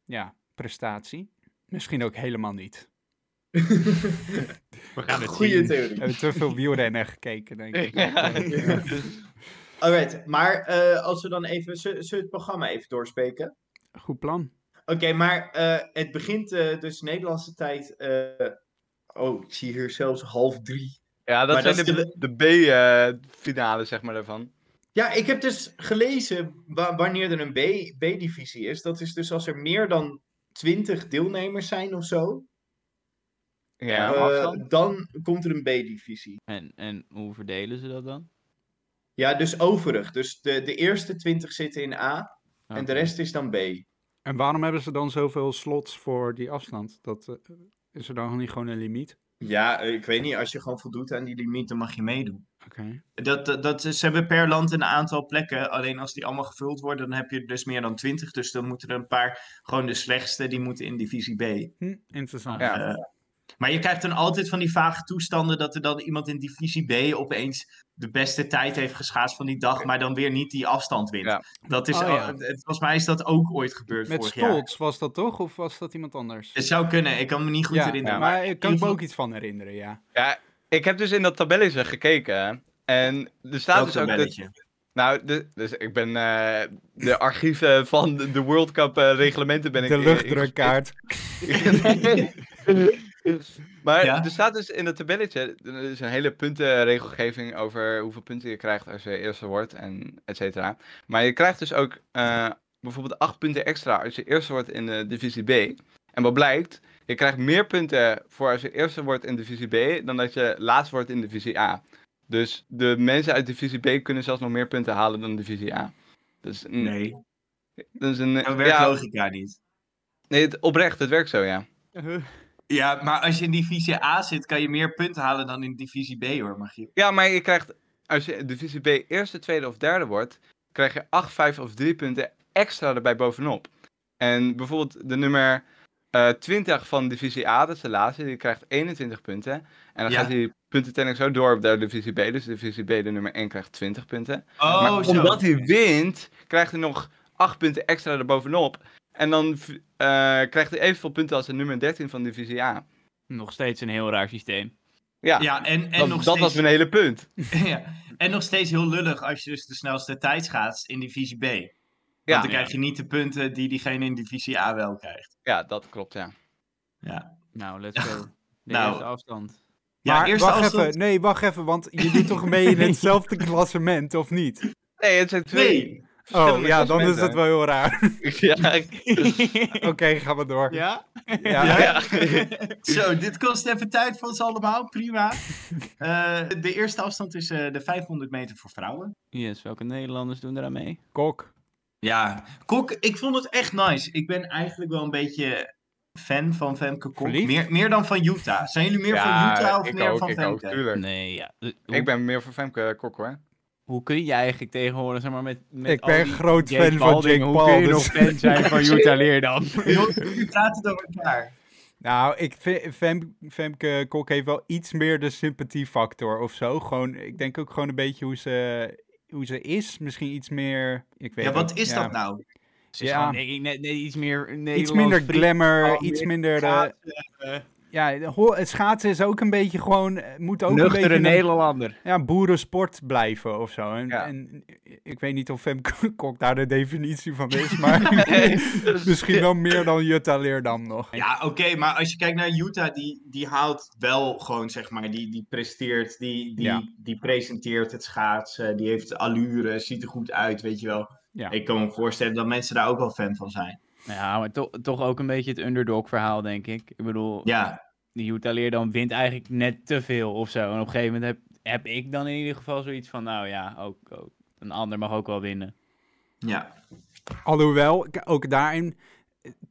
H: ja, prestatie. Misschien ook helemaal niet.
I: We gaan het
F: Goeie
I: zien.
F: theorie.
H: We hebben te <laughs> veel wielrennen gekeken, denk ik.
F: Alright, maar eh, als we dan even zul- zullen we het programma even doorspreken.
H: Goed plan.
F: Oké, maar eh, het begint eh, dus Nederlandse tijd. eh, oh, ik zie hier zelfs half drie.
G: Ja, dat
F: Maar
G: zijn
F: dat is
G: de, de B-finale, zeg maar, daarvan.
F: Ja, ik heb dus gelezen wa- wanneer er een B- B-divisie is. Dat is dus als er meer dan twintig deelnemers zijn of zo.
G: Ja,
F: eh,
G: afstand.
F: dan komt er een B-divisie.
I: En, en hoe verdelen ze dat dan?
F: Ja, dus overig. Dus de, de eerste twintig zitten in A en
I: Oké.
F: de rest is dan B.
H: En waarom hebben ze dan zoveel slots voor die afstand? Dat, eh, is er dan niet gewoon een limiet?
F: Ja, eh, ik weet niet. Als je gewoon voldoet aan die limiet, dan mag je meedoen.
A: Oké.
F: Dat, dat, dat, ze hebben per land een aantal plekken. Alleen als die allemaal gevuld worden, dan heb je er dus meer dan twintig. Dus dan moeten er een paar, gewoon de slechtste, die moeten in divisie B. Eh,
A: Hm, interessant.
G: Ja.
F: Maar je krijgt dan altijd van die vage toestanden dat er dan iemand in divisie B opeens de beste tijd heeft geschaatst van die dag, maar dan weer niet die afstand wint.
G: Ja.
F: Dat is,
A: Oh,
F: al-
A: ja.
F: het- volgens mij is dat ook ooit gebeurd
A: Met
F: vorig jaar.
A: Stolz was dat toch? Of was dat iemand anders?
F: Het zou kunnen, ik kan me niet goed
A: ja,
F: herinneren.
A: maar ik kan
F: in
A: me ook
F: ieder
A: iets van herinneren, ja.
G: Ja, ik heb dus in dat tabelletje gekeken. En er staat
F: geval
G: dus
F: dat
G: ook... Dat,
F: belletje.
G: nou, de- dus ik ben eh, de archieven van de, de World Cup eh, reglementen ben ik...
H: De
G: in-
H: luchtdrukkaart.
G: <laughs> Maar
F: Ja.
G: er staat dus in dat tabelletje, er is een hele puntenregelgeving over hoeveel punten je krijgt als je eerste wordt en et cetera. Maar je krijgt dus ook eh, bijvoorbeeld acht punten extra als je eerste wordt in de divisie B. En wat blijkt, je krijgt meer punten voor als je eerste wordt in divisie B dan dat je laatst wordt in divisie A. Dus de mensen uit divisie B kunnen zelfs nog meer punten halen dan divisie A. Dat is een,
F: Nee,
G: dat is een,
F: dat werkt
G: ja,
F: logica niet.
G: nee, het, oprecht, het werkt zo, ja.
F: Ja, maar als je in divisie A zit, kan je meer punten halen dan in divisie B hoor, mag je.
G: Ja, maar je krijgt, als je divisie B eerste, tweede of derde wordt, krijg je 8, 5 of 3 punten extra erbij bovenop. En bijvoorbeeld de nummer eh 20 van divisie A, dat is de laatste, die krijgt 21 punten. En dan
F: Ja.
G: gaat die puntentelling zo door op de divisie B. Dus divisie B, de nummer 1, krijgt 20 punten.
F: Oh,
G: maar omdat hij wint, krijgt hij nog 8 punten extra erbovenop. En dan v- eh, krijgt hij evenveel punten als de nummer 13 van divisie A.
I: Nog steeds een heel raar systeem.
G: Ja,
F: Ja, en, en
G: dat, dat
F: nog steeds...
G: was mijn hele punt.
F: <laughs> Ja. En nog steeds heel lullig als je dus de snelste tijd schaatst in divisie B. Want
G: Ja.
F: dan krijg je niet de punten die diegene in divisie A wel krijgt.
G: Ja, dat klopt, ja.
F: Ja,
I: Nou, let's <laughs> go. De
F: Nou.
I: eerste afstand.
F: ja
H: maar
F: eerste
H: wacht
F: afstand...
H: even, nee, wacht even, want je doet toch mee
F: <laughs>
H: in hetzelfde klassement, of niet?
G: Nee, het zijn twee. <laughs>
F: Nee,
H: Oh
G: verschillende
H: ja, dan is het
G: klassementen.
H: wel heel raar.
G: Ja, ik-
H: <laughs> Oké, gaan we door.
I: ja?
H: Ja.
G: ja.
F: zo, dit kost even tijd voor ons allemaal, prima. Eh, de eerste afstand is eh, de 500 meter voor vrouwen.
I: Yes, welke Nederlanders doen eraan mee?
H: Kok.
F: Ja, Kok, ik vond het echt nice. Ik ben eigenlijk wel een beetje fan van Femke Kok.
H: Verliefd?
F: Meer, meer dan van Utah. Zijn jullie meer van Utah of
G: ik
F: meer
G: ook,
F: van
G: ik ook,
F: Femke? <laughs>
G: tuurlijk.
I: Nee, ja. eh, Hoe,
G: Ik ben meer voor Femke Kok hoor.
I: hoe kun je eigenlijk tegenwoordig, zeg maar, met, met
H: Ik
I: al
H: ben
I: die
H: groot
I: Jake
H: fan van Jake
I: Paul-dingen, Hoe kun
H: Paul.
I: je nog
H: dus-
I: fan zijn van Utah Leer dan?
F: Joh, jullie praten door elkaar.
H: Nou, ik vind Fem- Femke Kok heeft wel iets meer de sympathiefactor of zo. Gewoon, ik denk ook gewoon een beetje hoe ze, hoe ze is. Misschien iets meer. Ik weet
F: Ja, wat
H: ook-
F: is
H: ja.
F: dat nou?
I: Ze is
H: Ja.
I: gewoon, denk ik, net, net iets meer
H: Iets
I: Nederlands
H: minder
I: vriend-
H: glamour,
I: Oh,
H: iets
I: meer
H: minder. eh,
I: schaatsen,
H: ja, de ho- het schaatsen is ook een beetje gewoon. eh, Moet ook een beetje.
I: Nuchtere
H: een-
I: Nederlander.
H: ja, boerensport blijven of zo. En,
G: Ja.
H: en eh, ik weet niet of Femke <laughs> Kok daar de definitie van is,
I: <laughs>
H: maar
I: dus-
H: misschien wel meer dan Jutta Leerdam nog.
F: Ja, oké, maar als je kijkt naar Utah, die, die haalt wel gewoon, zeg maar, die, die presteert, die, die,
H: Ja.
F: die presenteert het schaatsen, die heeft allure, ziet er goed uit, weet je wel.
H: Ja.
F: Ik kan me voorstellen dat mensen daar ook wel fan van zijn.
I: Ja, maar to- toch ook een beetje het underdog verhaal, denk ik. Ik bedoel,
F: Ja,
I: die Utah Leer dan wint eigenlijk net te veel of zo. En op een gegeven moment heb, heb ik dan in ieder geval zoiets van, nou ja, ook, ook, een ander mag ook wel winnen.
F: ja.
H: Alhoewel, k- ook daarin,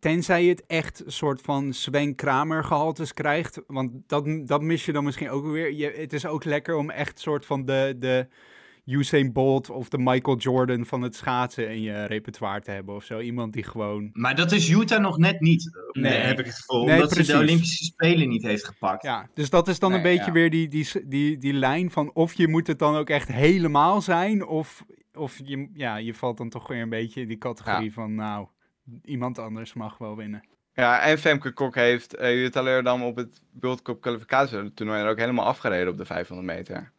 H: tenzij je het echt soort van Sven Kramer gehaltes krijgt, want dat, dat mis je dan misschien ook weer. Je, het is ook lekker om echt soort van de, de Usain Bolt of de Michael Jordan van het schaatsen in je repertoire te hebben of zo. Iemand die gewoon...
F: Maar dat is Utah nog net niet, eh,
I: Nee.
F: heb ik het gevoel.
H: Nee,
F: omdat ze de
H: precies.
F: Olympische Spelen niet heeft gepakt.
H: Ja, dus dat is dan een
G: Nee,
H: beetje
G: ja.
H: weer die, die, s- die, die lijn van of je moet het dan ook echt helemaal zijn, of, of je, ja, je valt dan toch weer een beetje in die categorie van nou, iemand anders mag wel winnen.
G: ja, en Femke Kok heeft uh, Jutta Leerdam op het World Cup kwalificatietoernooi er ook helemaal afgereden op de 500 meter.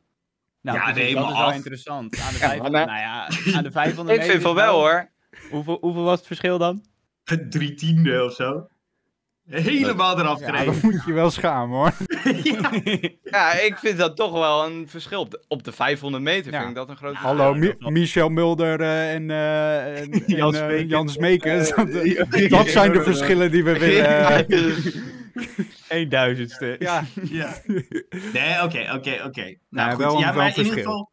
I: Nou,
F: Ja,
I: precies,
F: nee,
I: dat
F: maar
I: is wel
F: af.
I: interessant. Aan de 500,
G: maar-
I: nou ja, aan de 500
G: <laughs> Ik vind
I: meter
G: van wel hoor.
I: Hoeveel, hoeveel was het verschil dan?
F: <laughs> Drie tiende of zo. Helemaal eraf
H: Ja,
F: gereden.
H: dan moet je wel schamen hoor.
G: Ja, ik vind dat toch wel een verschil. Op de, op de 500 meter
H: Ja.
G: vind ik dat een groot verschil. <laughs>
H: Hallo, Mi-
I: dat wel.
H: Michel Mulder eh, en, eh, <laughs> en,
I: Jan
H: en, eh,
I: Smekens.
H: Jan Smekens. <laughs> dat, dat zijn de verschillen die <laughs> we willen. eh,
I: <laughs> Een duizendste.
H: ja.
F: Ja. Nee, oké, oké, oké. Nou,
H: Nee,
F: goed.
H: wel een-
F: ja,
H: wel een
F: maar in ieder
H: verschil.
F: geval.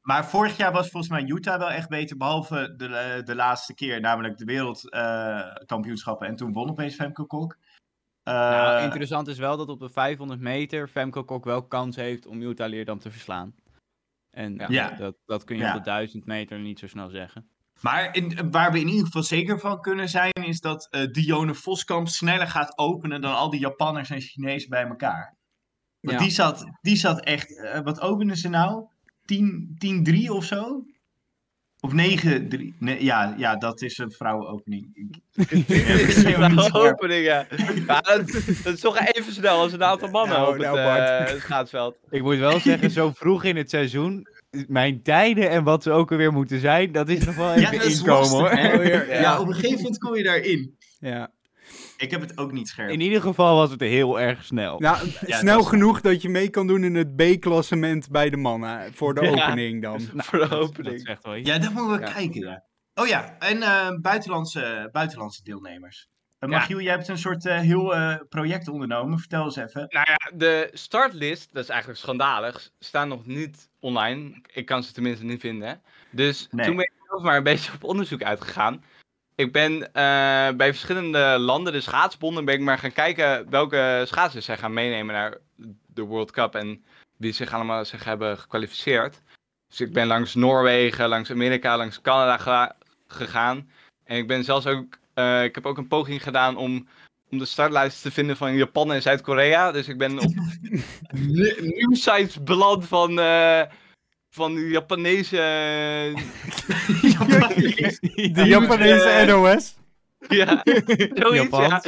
F: Maar vorig jaar was volgens mij Utah wel echt beter, behalve de, eh, de laatste keer, namelijk de wereldkampioenschappen. en toen won opeens Femke Kok. Eh,
I: nou, interessant is wel dat op de 500 meter Femke Kok wel kans heeft om Jutta Leerdam te verslaan. En ja,
F: Ja.
I: Dat, dat kun je
F: Ja.
I: op de 1000 meter niet zo snel zeggen.
F: Maar in- waar we in ieder geval zeker van kunnen zijn, is dat eh, Dione Voskamp sneller gaat openen dan al die Japanners en Chinezen bij elkaar. Want
A: Ja.
F: die, zat, die zat echt, eh, wat openen ze nou? 10-3 of zo? Of 9-3? Nee, ja, ja, dat is een vrouwenopening. Ik-
G: Dit is
F: Ja,
G: een
F: niet scherp.
G: opening, ja. Ja, dat, dat is toch even snel als een aantal mannen
H: Nou,
G: op het
H: nou,
G: eh,
H: Bart.
G: schaatsveld.
I: Ik moet wel zeggen,
H: <laughs>
I: zo vroeg in het seizoen, mijn tijden en wat ze ook alweer moeten zijn, dat is nog wel
F: Ja,
I: even
F: dat is
I: inkomen
F: lastig,
I: hoor. Oh,
F: hè?
G: Ja.
F: Ja. op een gegeven moment kom je daarin.
H: Ja.
F: Ik heb het ook niet scherp.
I: In ieder geval was het heel erg snel.
H: Nou,
F: Ja,
H: snel
F: dat is-
H: genoeg dat je mee kan doen in het B-klassement bij de mannen. eh, Voor de
G: Ja.
H: opening dan.
I: <laughs>
G: voor de
I: Nou, Dat is
G: opening.
I: echt wel iets.
F: Ja, dat moeten we
G: Ja.
F: kijken, ja. Oh ja, en eh, buitenlandse, buitenlandse deelnemers. Eh,
G: Ja.
F: Magiel, jij hebt een soort eh, heel eh, project ondernomen. Vertel eens <laughs> even.
G: Nou ja, de startlist, dat is eigenlijk schandalig, staan nog niet online. Ik kan ze tenminste niet vinden. Dus
F: Nee.
G: toen ben ik zelf maar een <laughs> beetje op onderzoek uitgegaan. Ik ben eh, bij verschillende landen, de schaatsbonden, ben ik maar gaan kijken welke schaatsers zij gaan meenemen naar de World Cup. En wie zich allemaal zich hebben gekwalificeerd. Dus ik ben langs Noorwegen, langs Amerika, langs Canada ga- gegaan. En ik ben zelfs ook, eh, ik heb ook een poging gedaan om, om de startlijst te vinden van Japan en Zuid-Korea. Dus ik ben op ni- nieuwsites beland van, eh, van de Japanese, eh,
H: De Japanese NOS.
G: <laughs> ja, zoiets,
I: Japan.
G: ja.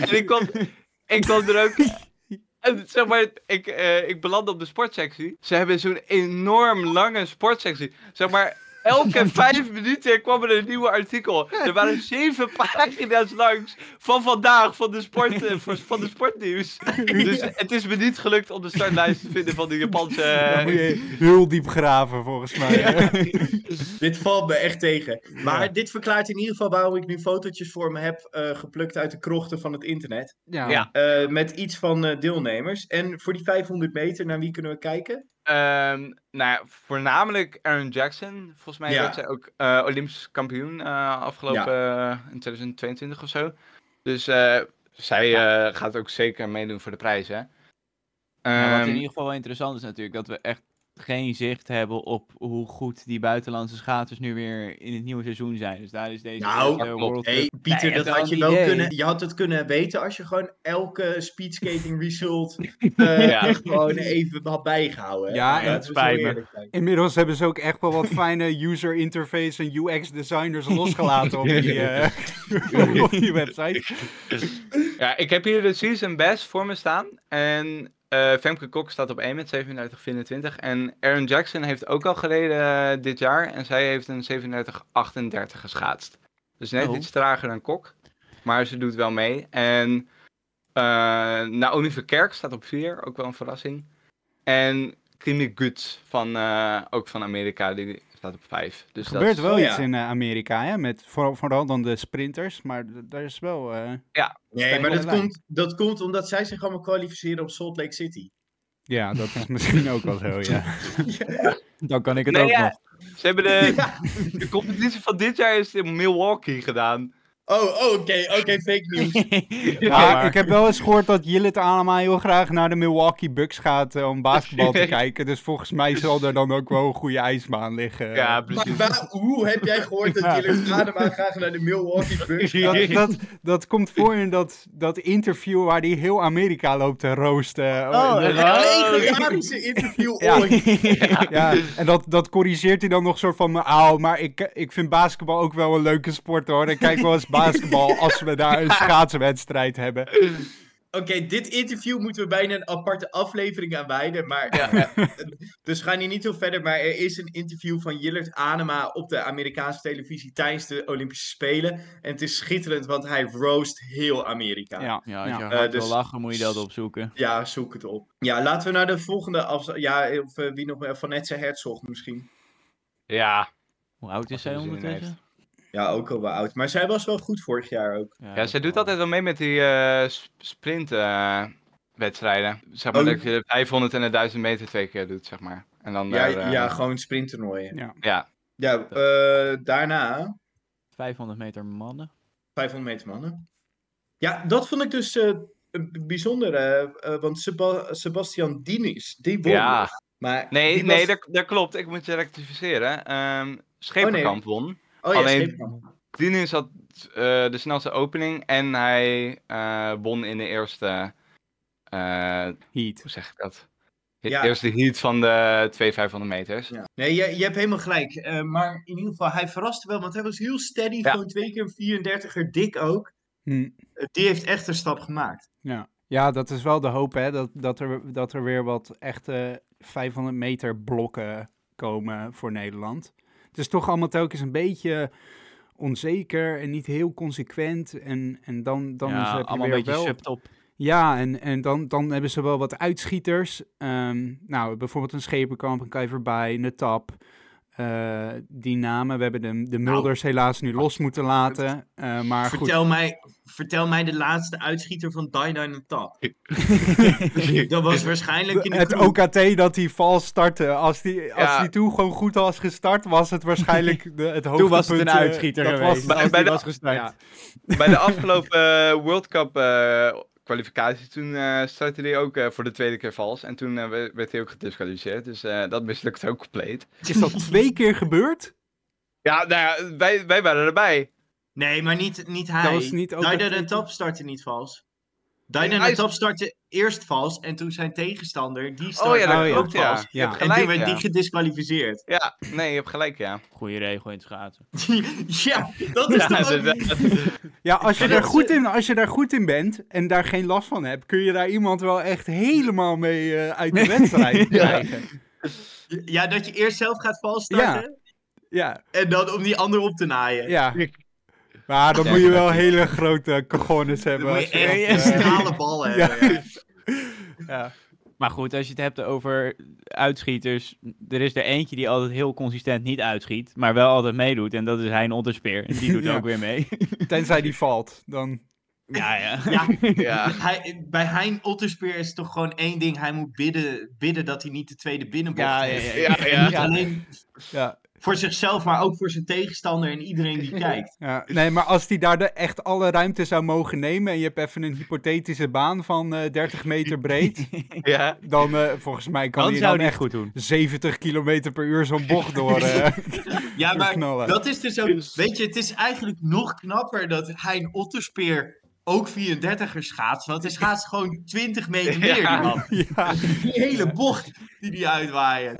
G: En ik kwam, ik kwam er ook... En zeg maar, ik, eh, ik belandde op de sportsectie. Ze hebben zo'n enorm lange sportsectie. Zeg maar, elke
H: <laughs>
G: vijf minuten kwam er een nieuw artikel. Er waren zeven <laughs> pagina's langs van vandaag, van de, sport, eh, van- van de
H: <laughs>
G: sportnieuws. Dus het is me niet gelukt om de startlijst te vinden van de Japanse... eh,
H: Dan moet je heel diep graven volgens mij.
F: Dit valt me echt tegen. Maar dit verklaart in ieder geval waarom ik nu fotootjes voor me heb eh, geplukt uit de krochten van het internet.
G: Ja.
F: Eh, met iets van eh, deelnemers. En voor die 500 meter, naar wie kunnen we kijken?
G: Ehm, nou ja, voornamelijk Aaron Jackson. Volgens mij
F: Ja.
G: werd zij ook eh, Olympisch kampioen eh, afgelopen eh, in 2022 of zo. Dus eh, zij eh, gaat ook zeker meedoen voor de prijs, hè?
I: Ja, wat
G: Ehm,
I: in ieder geval wel interessant is natuurlijk, dat we echt geen zicht hebben op hoe goed die buitenlandse schaters nu weer in het nieuwe seizoen zijn. Dus daar is deze
F: Nou,
I: eerste
G: dat
I: World
F: Hé, hey, Pieter,
I: Nee,
F: dat
I: heb
F: had je
I: wel
F: wel
I: een idee.
F: kunnen. Je had het kunnen weten als je gewoon elke speedskating result eh,
I: Ja.
F: echt gewoon even had bijgehouden. hè.
H: Ja, en
F: Laten
I: het
F: we zo
I: spijt me.
F: eerlijk zijn.
H: Inmiddels hebben ze ook echt wel wat fijne user interface en UX designers losgelaten <laughs> op die, eh, op die website.
G: ja, ik heb hier de season best voor me staan. En eh, Femke Kok staat op 1 met 37,24. En Aaron Jackson heeft ook al gereden eh, dit jaar. En zij heeft een 37,38 geschaatst. Dus net
I: Oh.
G: iets trager dan Kok. Maar ze doet wel mee. En eh Naomi Verkerk staat op 4. Ook wel een verrassing. En Kimi Guts, van, eh, ook van Amerika, die staat op 5. Dus
H: Er
G: dat
H: gebeurt
G: is-
H: wel
F: Oh,
H: iets
F: ja.
H: in eh, Amerika, hè? Met, vooral, vooral dan de sprinters, maar d- daar is wel... eh,
F: Nee, maar
H: wel
F: dat
H: een lijn.
F: komt, dat komt omdat zij zich allemaal kwalificeren op Salt Lake City.
H: ja, dat is misschien ook wel <laughs> zo, ja.
I: Dan kan ik het
G: Nee,
I: ook
G: ja.
I: nog.
G: Ze hebben
F: <laughs>
G: de, de competitie van dit jaar is in Milwaukee gedaan.
F: Oh, oh, oké, oké, fake news.
H: Maar ik heb wel eens gehoord dat Jillet Alema heel graag naar de Milwaukee Bucks gaat eh, om basketbal te kijken. Dus volgens mij zal er dan ook wel een goede ijsbaan liggen.
G: Ja,
F: maar
G: precies.
F: waar- hoe heb jij gehoord dat jullie Adema graag naar de Milwaukee Bucks gaat?
H: Dat, dat, dat komt voor in dat, dat interview waar die heel Amerika loopt te roosten. eh,
F: Het legendarische interview
H: Ja.
F: ooit. <laughs>
H: Ja, en dat, dat corrigeert hij dan nog soort van, auw, maar ik, ik vind basketbal ook wel een leuke sport hoor. Ik kijk <laughs> wel eens basketbal als we daar een schaatswedstrijd hebben.
F: Oké, dit interview moeten we bijna een aparte aflevering aan wijden. Maar, eh, <laughs> dus ga hier niet heel verder. Maar er is een interview van Jillert Anema op de Amerikaanse televisie tijdens de Olympische Spelen. En het is schitterend, want hij roast heel Amerika.
H: Ja,
I: Ja, als je
H: ja.
I: hard
F: Eh, dus-
I: wil lachen, moet je dat opzoeken.
F: Ja, zoek het op. Ja, laten we naar de volgende afs- Ja, of eh, wie nog meer? Vanessa Herzog misschien.
G: Ja.
I: Hoe oud is
G: hij
I: zij ondertussen?
F: Ja, ook al wel oud. Maar zij was wel goed vorig jaar ook.
G: Ja, zij doet altijd wel mee met die eh, sprintwedstrijden. eh, zeg maar
F: Oh.
G: dat je de 500 en de 1000 meter twee keer doet, zeg maar. En dan
F: Ja,
G: daar, eh,
F: ja gewoon sprinttoernooien.
G: ja.
F: Ja, eh, daarna
I: 500 meter mannen.
F: 500 meter mannen. Ja, dat vond ik dus eh, een bijzondere, eh, want Seba- Sebastian Dinis, die won.
G: Ja.
F: Maar
G: Nee,
F: die
G: nee
F: was-
G: dat, dat klopt. Ik moet je rectificeren. Ehm Schepenkamp won.
F: oh, ja,
G: alleen-
F: Scheepman.
G: Dinus had eh, de snelste opening en hij eh, won in de eerste... eh,
H: Heat.
G: hoe zeg ik dat? De
F: Ja.
G: eerste heat van de 2500 meters.
F: Ja. Nee, je, je hebt helemaal gelijk. Eh, maar in ieder geval, hij verraste wel, want hij was heel steady.
G: Ja.
F: Gewoon twee keer een 34er, dik ook.
H: Hm.
F: Eh, Die heeft echt een stap gemaakt.
H: Ja. ja, dat is wel de hoop, hè? Dat, dat, er, dat er weer wat echte 500 meter blokken komen voor Nederland. Het is toch allemaal telkens een beetje onzeker en niet heel consequent. En, en dan, dan is-
I: ja,
H: heb je
I: allemaal
H: weer
I: een beetje
H: wel...
I: subtop.
H: Ja, en, en dan, dan hebben ze wel wat uitschieters. Ehm, nou, bijvoorbeeld een Schepenkamp, een Kuiverbij, een Tap. eh, die namen, we hebben de, de Mulders helaas nu los moeten laten. eh, maar goed,
F: Vertel mij, vertel mij de laatste uitschieter van Dine Dine Tap.
H: <laughs>
F: dat was waarschijnlijk in de
H: het
F: kroeg.
H: OKT dat hij vals startte. Als die, als
G: Ja. <laughs>
H: die toen gewoon goed was gestart, was het waarschijnlijk de, het hoogtepunt.
I: Toen was het een
H: eh,
I: uitschieter
H: dat
I: geweest.
H: Was,
G: Bij-
I: als
G: bij
I: die
G: de-
I: was gestart.
H: ja.
G: Bij de afgelopen eh, World Cup eh, kwalificatie, toen eh startte hij ook eh, voor de tweede keer vals. En toen eh, we- werd hij ook gedisqualificeerd. Dus eh, dat mislukt ook compleet.
H: is dat twee keer gebeurd?
G: Ja, nou ja, wij, wij waren erbij.
F: Nee, maar niet, niet hij.
H: was niet ook
F: Dine
H: dat-
F: Dine Tap startte niet vals. Dine
G: Nee,
F: Dine
G: hij-
F: Tap startte eerst vals en toen zijn tegenstander, die startte
G: Oh ja, dat
H: Oh ja.
G: klopt, ja.
F: vals.
G: Je hebt
F: En toen
G: gelijk,
F: werd die
G: ja.
F: gedisqualificeerd. <laughs>
G: Ja, nee, je hebt gelijk, ja. <laughs>
I: Goede regel in het schaatsen.
F: ja, dat is
G: Ja,
F: toch ook-
G: inderdaad.
H: Ja, als je,
F: Maar
H: daar
F: dat-
H: goed in, als je daar goed in bent en daar geen last van hebt, kun je daar iemand wel echt helemaal mee eh, uit de wedstrijd krijgen.
F: Ja, dat je eerst zelf gaat vals starten
H: Ja,
F: en dan om die ander op te naaien.
H: ja. Maar dan
G: Ja,
H: moet je
G: dat
H: wel hele grote cojones hebben.
F: Dan moet je
H: als je
F: echt
H: dat,
F: een
H: eh,
F: stalen bal
H: <laughs>
F: hebben. ja.
I: Maar goed, als je het hebt over uitschieters. Er is er eentje die altijd heel consistent niet uitschiet. Maar wel altijd meedoet. En dat is Hein Otterspeer. En die doet
H: Ja.
I: ook weer mee.
H: tenzij die valt, dan...
I: ja, <laughs> ja.
F: Ja,
G: Ja.
F: hij, bij Hein Otterspeer is toch gewoon één ding. Hij moet bidden, bidden dat hij niet de tweede binnenbocht
I: Ja,
F: heeft.
I: ja,
G: Ja,
F: En niet
G: ja.
F: alleen
H: Ja,
F: voor zichzelf, maar ook voor zijn tegenstander en iedereen die kijkt.
H: ja. Nee, maar als die daar de, echt alle ruimte zou mogen nemen en je hebt even een hypothetische baan van eh, 30 meter breed,
G: ja.
H: dan eh, volgens mij kan
I: Dan
H: die
I: zou
H: dan
I: die het
H: echt
I: goed doen.
H: 70 kilometer per uur zo'n bocht door... eh,
F: Ja, maar
H: knallen.
F: dat is dus ook... Weet je, het is eigenlijk nog knapper dat Hein Otterspeer ook 34er schaats. Want hij schaats gewoon 20 meter meer. die
G: Ja.
F: man.
H: <laughs> ja.
F: Die hele bocht die die uitwaaien.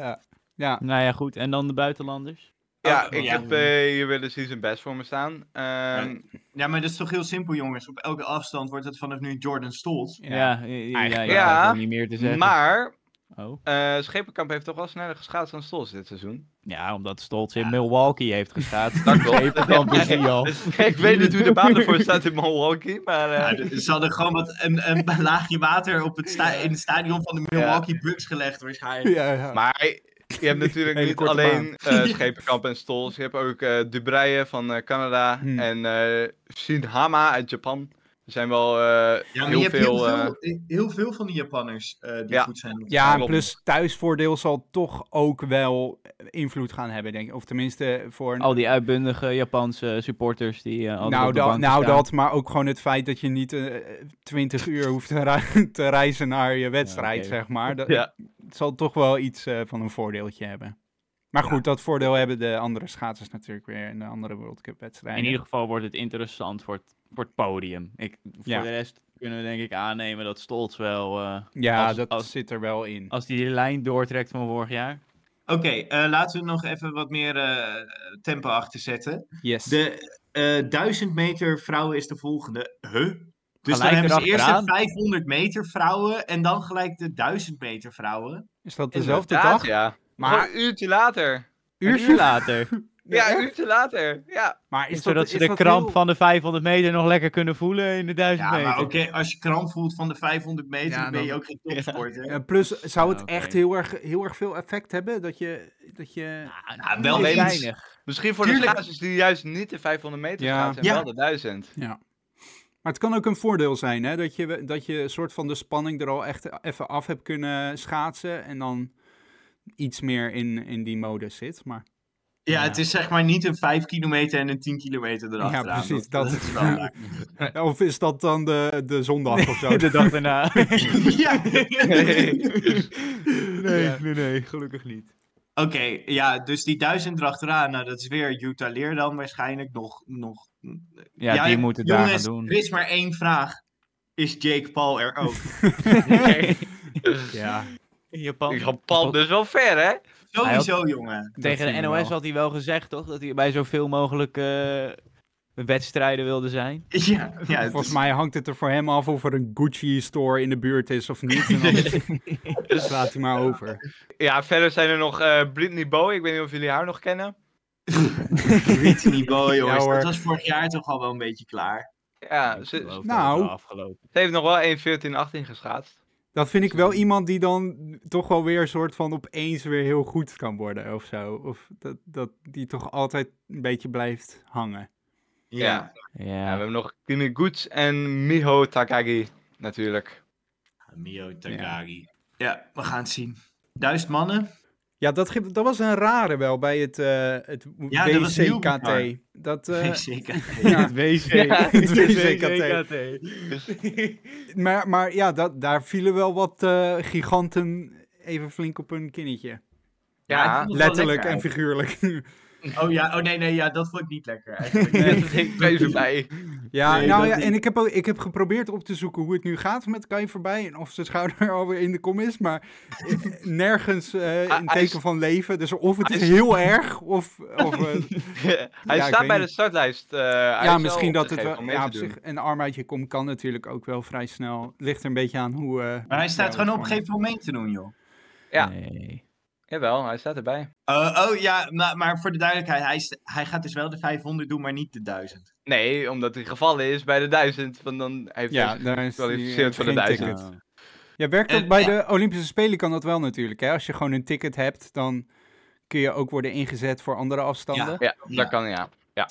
H: ja,
I: Nou ja, goed. En dan de buitenlanders?
G: Ja, ik
F: ja.
G: heb eh, hier weer de season best voor me staan. Ehm,
F: Ja, maar dat is toch heel simpel, jongens. Op elke afstand wordt het vanaf nu Jordan Stolz.
I: Ja, ja, ja, ja,
G: Ja.
I: ik heb er niet meer te zeggen.
G: maar
I: Oh.
G: eh, Schepenkamp heeft toch wel sneller geschaatst dan Stols dit
F: <laughs>
G: seizoen.
I: Ja, omdat Stolz in Milwaukee heeft geschaatst.
G: Dat klopt.
I: Schepenkamp is die al.
G: ik weet niet hoe de baan ervoor staat in Milwaukee, maar... eh,
F: Ja, d- ze hadden gewoon wat, een, een laagje water op het sta- in het stadion van de Milwaukee Bucks gelegd waarschijnlijk.
H: ja, ja.
G: Maar je hebt
F: <laughs>
G: natuurlijk
H: Hele
G: niet
H: korte
G: alleen eh Schepenkamp en Stols. Je hebt ook eh Dubraille van eh, Canada
H: Hmm.
G: en eh Shinhama uit Japan. Er zijn wel eh,
F: Ja, maar
G: heel
F: je hebt heel
G: veel... eh,
F: veel, eh, heel veel van die Japanners eh, die
G: Ja.
F: goed zijn.
H: Ja, en
G: Klopt.
H: plus thuisvoordeel zal toch ook wel invloed gaan hebben, denk ik. Of tenminste voor... een-
I: Al die uitbundige Japanse supporters die eh, altijd
H: nou,
I: op de
H: dat-
I: banken
H: nou
I: staan.
H: dat, maar ook gewoon het feit dat je niet eh, twintig uur hoeft te, rei- <laughs> te reizen naar je wedstrijd,
I: oké.
H: zeg maar. Dat
G: Ja.
H: het zal toch wel iets eh, van een voordeeltje hebben. Maar goed, dat voordeel hebben de andere schaatsers natuurlijk weer in de andere World Cup wedstrijden.
I: In ieder geval wordt het interessant voor het, voor het podium. Ik, voor
H: Ja.
I: de rest kunnen we denk ik aannemen dat Stolz wel... eh,
H: <laughs> Ja,
I: als,
H: dat
I: Als,
H: zit er wel in.
I: als die die lijn doortrekt van vorig jaar.
F: Oké, eh, laten we nog even wat meer eh, tempo achter zetten.
H: Yes.
F: De eh 1000 meter vrouwen is de volgende. Huh? Dus
I: Gelijk
F: dan hebben ze eerst de
I: erachteraan.
F: 500 meter vrouwen en dan gelijk de 1000 meter vrouwen.
H: Is dat dezelfde
G: inderdaad,
H: dag?
G: Ja.
H: Maar-
G: Maar een uurtje later.
I: Een uur <laughs> later.
G: Ja, een
H: echt?
G: uurtje later. Ja.
H: Maar is dat,
I: zodat
H: is
I: ze de
H: dat
I: kramp
H: heel-
I: van de 500 meter nog lekker kunnen voelen in de 1000
F: Ja, maar
I: meter. <laughs>
F: oké, als je kramp voelt van de 500 meter,
H: <laughs> Ja,
F: dan ben je
H: dan-
F: ook geen topsporter.
H: Ja, plus, zou het
I: Ja, oké.
H: echt heel erg, heel erg veel effect hebben? Dat je... Dat je...
F: Nou, wel
G: Alleen-
F: eens.
G: Misschien voor de
F: Tuurlijk.
G: schaatsers die juist niet de 500 meter
H: Ja.
G: schaatsen
F: Ja.
G: en wel de 1000.
H: Maar het kan ook een voordeel zijn, hè? Dat je, we- dat je een soort van de spanning er al echt even af hebt kunnen schaatsen. En dan iets meer in, in die mode zit. Maar
F: Ja, het is zeg maar niet een 5 kilometer en een 10 kilometer erachteraan.
H: Ja, precies,
F: Dat,
H: dat-
F: dat is wel <laughs> waar.
H: Of is dat dan de, de zondag
I: <laughs>
H: of zo?
I: De dag daarna.
F: ja. <laughs>
I: nee, nee, nee, gelukkig niet.
F: Oké, ja, dus die duizend erachteraan, nou, dat is weer Utah Leer dan waarschijnlijk nog. nog
I: Ja, die
F: j-
I: moeten daar gaan
F: jongens,
I: doen.
F: Er is maar één vraag. Is Jake Paul er
H: <laughs>
F: ook?
H: Ja.
I: In Japan.
G: Japan dus wel ver, hè?
F: Sowieso, jongen.
I: Tegen de
H: zien we
I: NOS
H: wel.
I: had hij wel gezegd, toch? Dat hij bij zoveel mogelijk eh, wedstrijden wilde zijn.
F: Ja, ja het
H: Volgens
F: is-
H: mij hangt het er voor hem af of er een Gucci-store in de buurt is of niet. En dan slaat hij maar over.
G: Ja, verder zijn er nog eh Britney Bow. Ik weet niet of jullie haar nog kennen.
F: Britney
H: <laughs>
F: Boy, jongens.
H: hoor.
F: dat was vorig jaar toch al wel een beetje klaar.
G: Ja,
I: Ik
G: ze,
I: geloof dat
H: nou.
I: het wel afgelopen.
G: ze heeft nog wel 1.14.18 geschaatst.
H: Dat vind ik wel iemand die dan toch wel weer een soort van opeens weer heel goed kan worden of zo. Of dat, dat die toch altijd een beetje blijft hangen.
F: Ja.
G: Ja. Ja, we
I: Ja,
G: hebben nog Kimi Goods en Miho Takagi, natuurlijk.
F: Mio Takagi. Ja, we gaan het zien. Duizend mannen.
H: Ja, dat, ge- dat was een rare wel bij het, eh het
F: Ja, dat was heel
H: WCKT.
F: bizar.
H: Dat,
F: <laughs>
H: eh,
F: Zeker.
H: <laughs> ja,
I: het WC.
H: het WCKT.
I: WCKT.
G: Dus-
H: <laughs> Maar, maar ja, dat, daar vielen wel wat eh, giganten even flink op hun kinnetje.
G: <laughs> Ja,
F: Dat was wel
H: Letterlijk
F: lekker
H: en figuurlijk. <laughs>
F: Oh ja, oh nee, nee, ja, dat vond ik niet lekker.
G: <laughs>
F: eigenlijk.
G: dat denk ik even <laughs> bij.
H: Ja,
F: Nee,
H: nou
F: dat
H: ja,
F: niet.
H: en ik heb, ook, ik heb geprobeerd op te zoeken hoe het nu gaat met Kai voorbij en of zijn schouder <laughs> alweer in de kom is, maar eh, nergens eh
G: Hij-
H: in
G: hij is-
H: teken van leven. Dus of het
G: hij
H: is
G: is-
H: heel erg, of, of eh,
G: Hij
H: Ja, ik
G: staat
H: weet
G: bij
H: niet.
G: de startlijst. eh, <laughs> hij
H: ja,
G: is wel
H: misschien dat het
G: opgegeven
H: wel,
G: om mee
H: ja,
G: te
H: op
G: doen.
H: zich een arm uit je kom kan natuurlijk ook wel vrij snel. Ligt er een beetje aan hoe. eh,
F: Maar hij staat
H: ja,
F: gewoon op
H: hoe-
F: een gegeven moment mee te doen, joh.
G: Ja.
I: Nee.
G: Jawel, hij staat erbij.
F: Eh, oh ja, maar, maar voor de duidelijkheid, hij, is- hij gaat dus wel de 500 doen, maar niet de 1000.
G: Nee, omdat hij gevallen is bij de 1000. Want dan heeft
H: Ja,
G: hij
H: daar is eh,
G: gekwalificeerd voor de
H: geen
G: 1000.
H: ticket. Ja, werkt dat
F: En-
H: bij de Olympische Spelen kan dat wel natuurlijk. Hè? Als je gewoon een ticket hebt, dan kun je ook worden ingezet voor andere afstanden.
G: Ja,
F: Ja.
G: dat kan ja.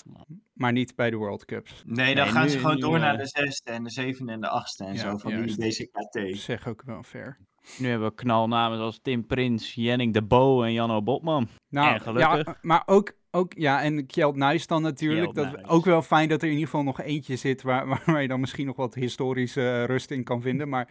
H: Maar niet bij de World Cups.
F: Nee, dan
I: Nee,
F: gaan
I: nu-
F: ze gewoon
I: nu,
F: door naar
I: eh,
F: de zesde en de zevende en de achtste en
H: Ja,
F: zo van die
H: Dat
F: DCKT.
H: Dus zeg ook wel fair.
I: Nu hebben we knalnamen zoals Tim Prins, Jenning de Bo en Janno Botman.
H: Nou,
I: En gelukkig.
H: Ja, maar ook, ook ja, en Kjeld Nuis dan natuurlijk.
I: Kjeld
H: dat,
I: Nuis.
H: ook wel fijn dat er in ieder geval nog eentje zit waar, <laughs> waar je dan misschien nog wat historische eh, rust in kan vinden.
F: <laughs>
H: Maar,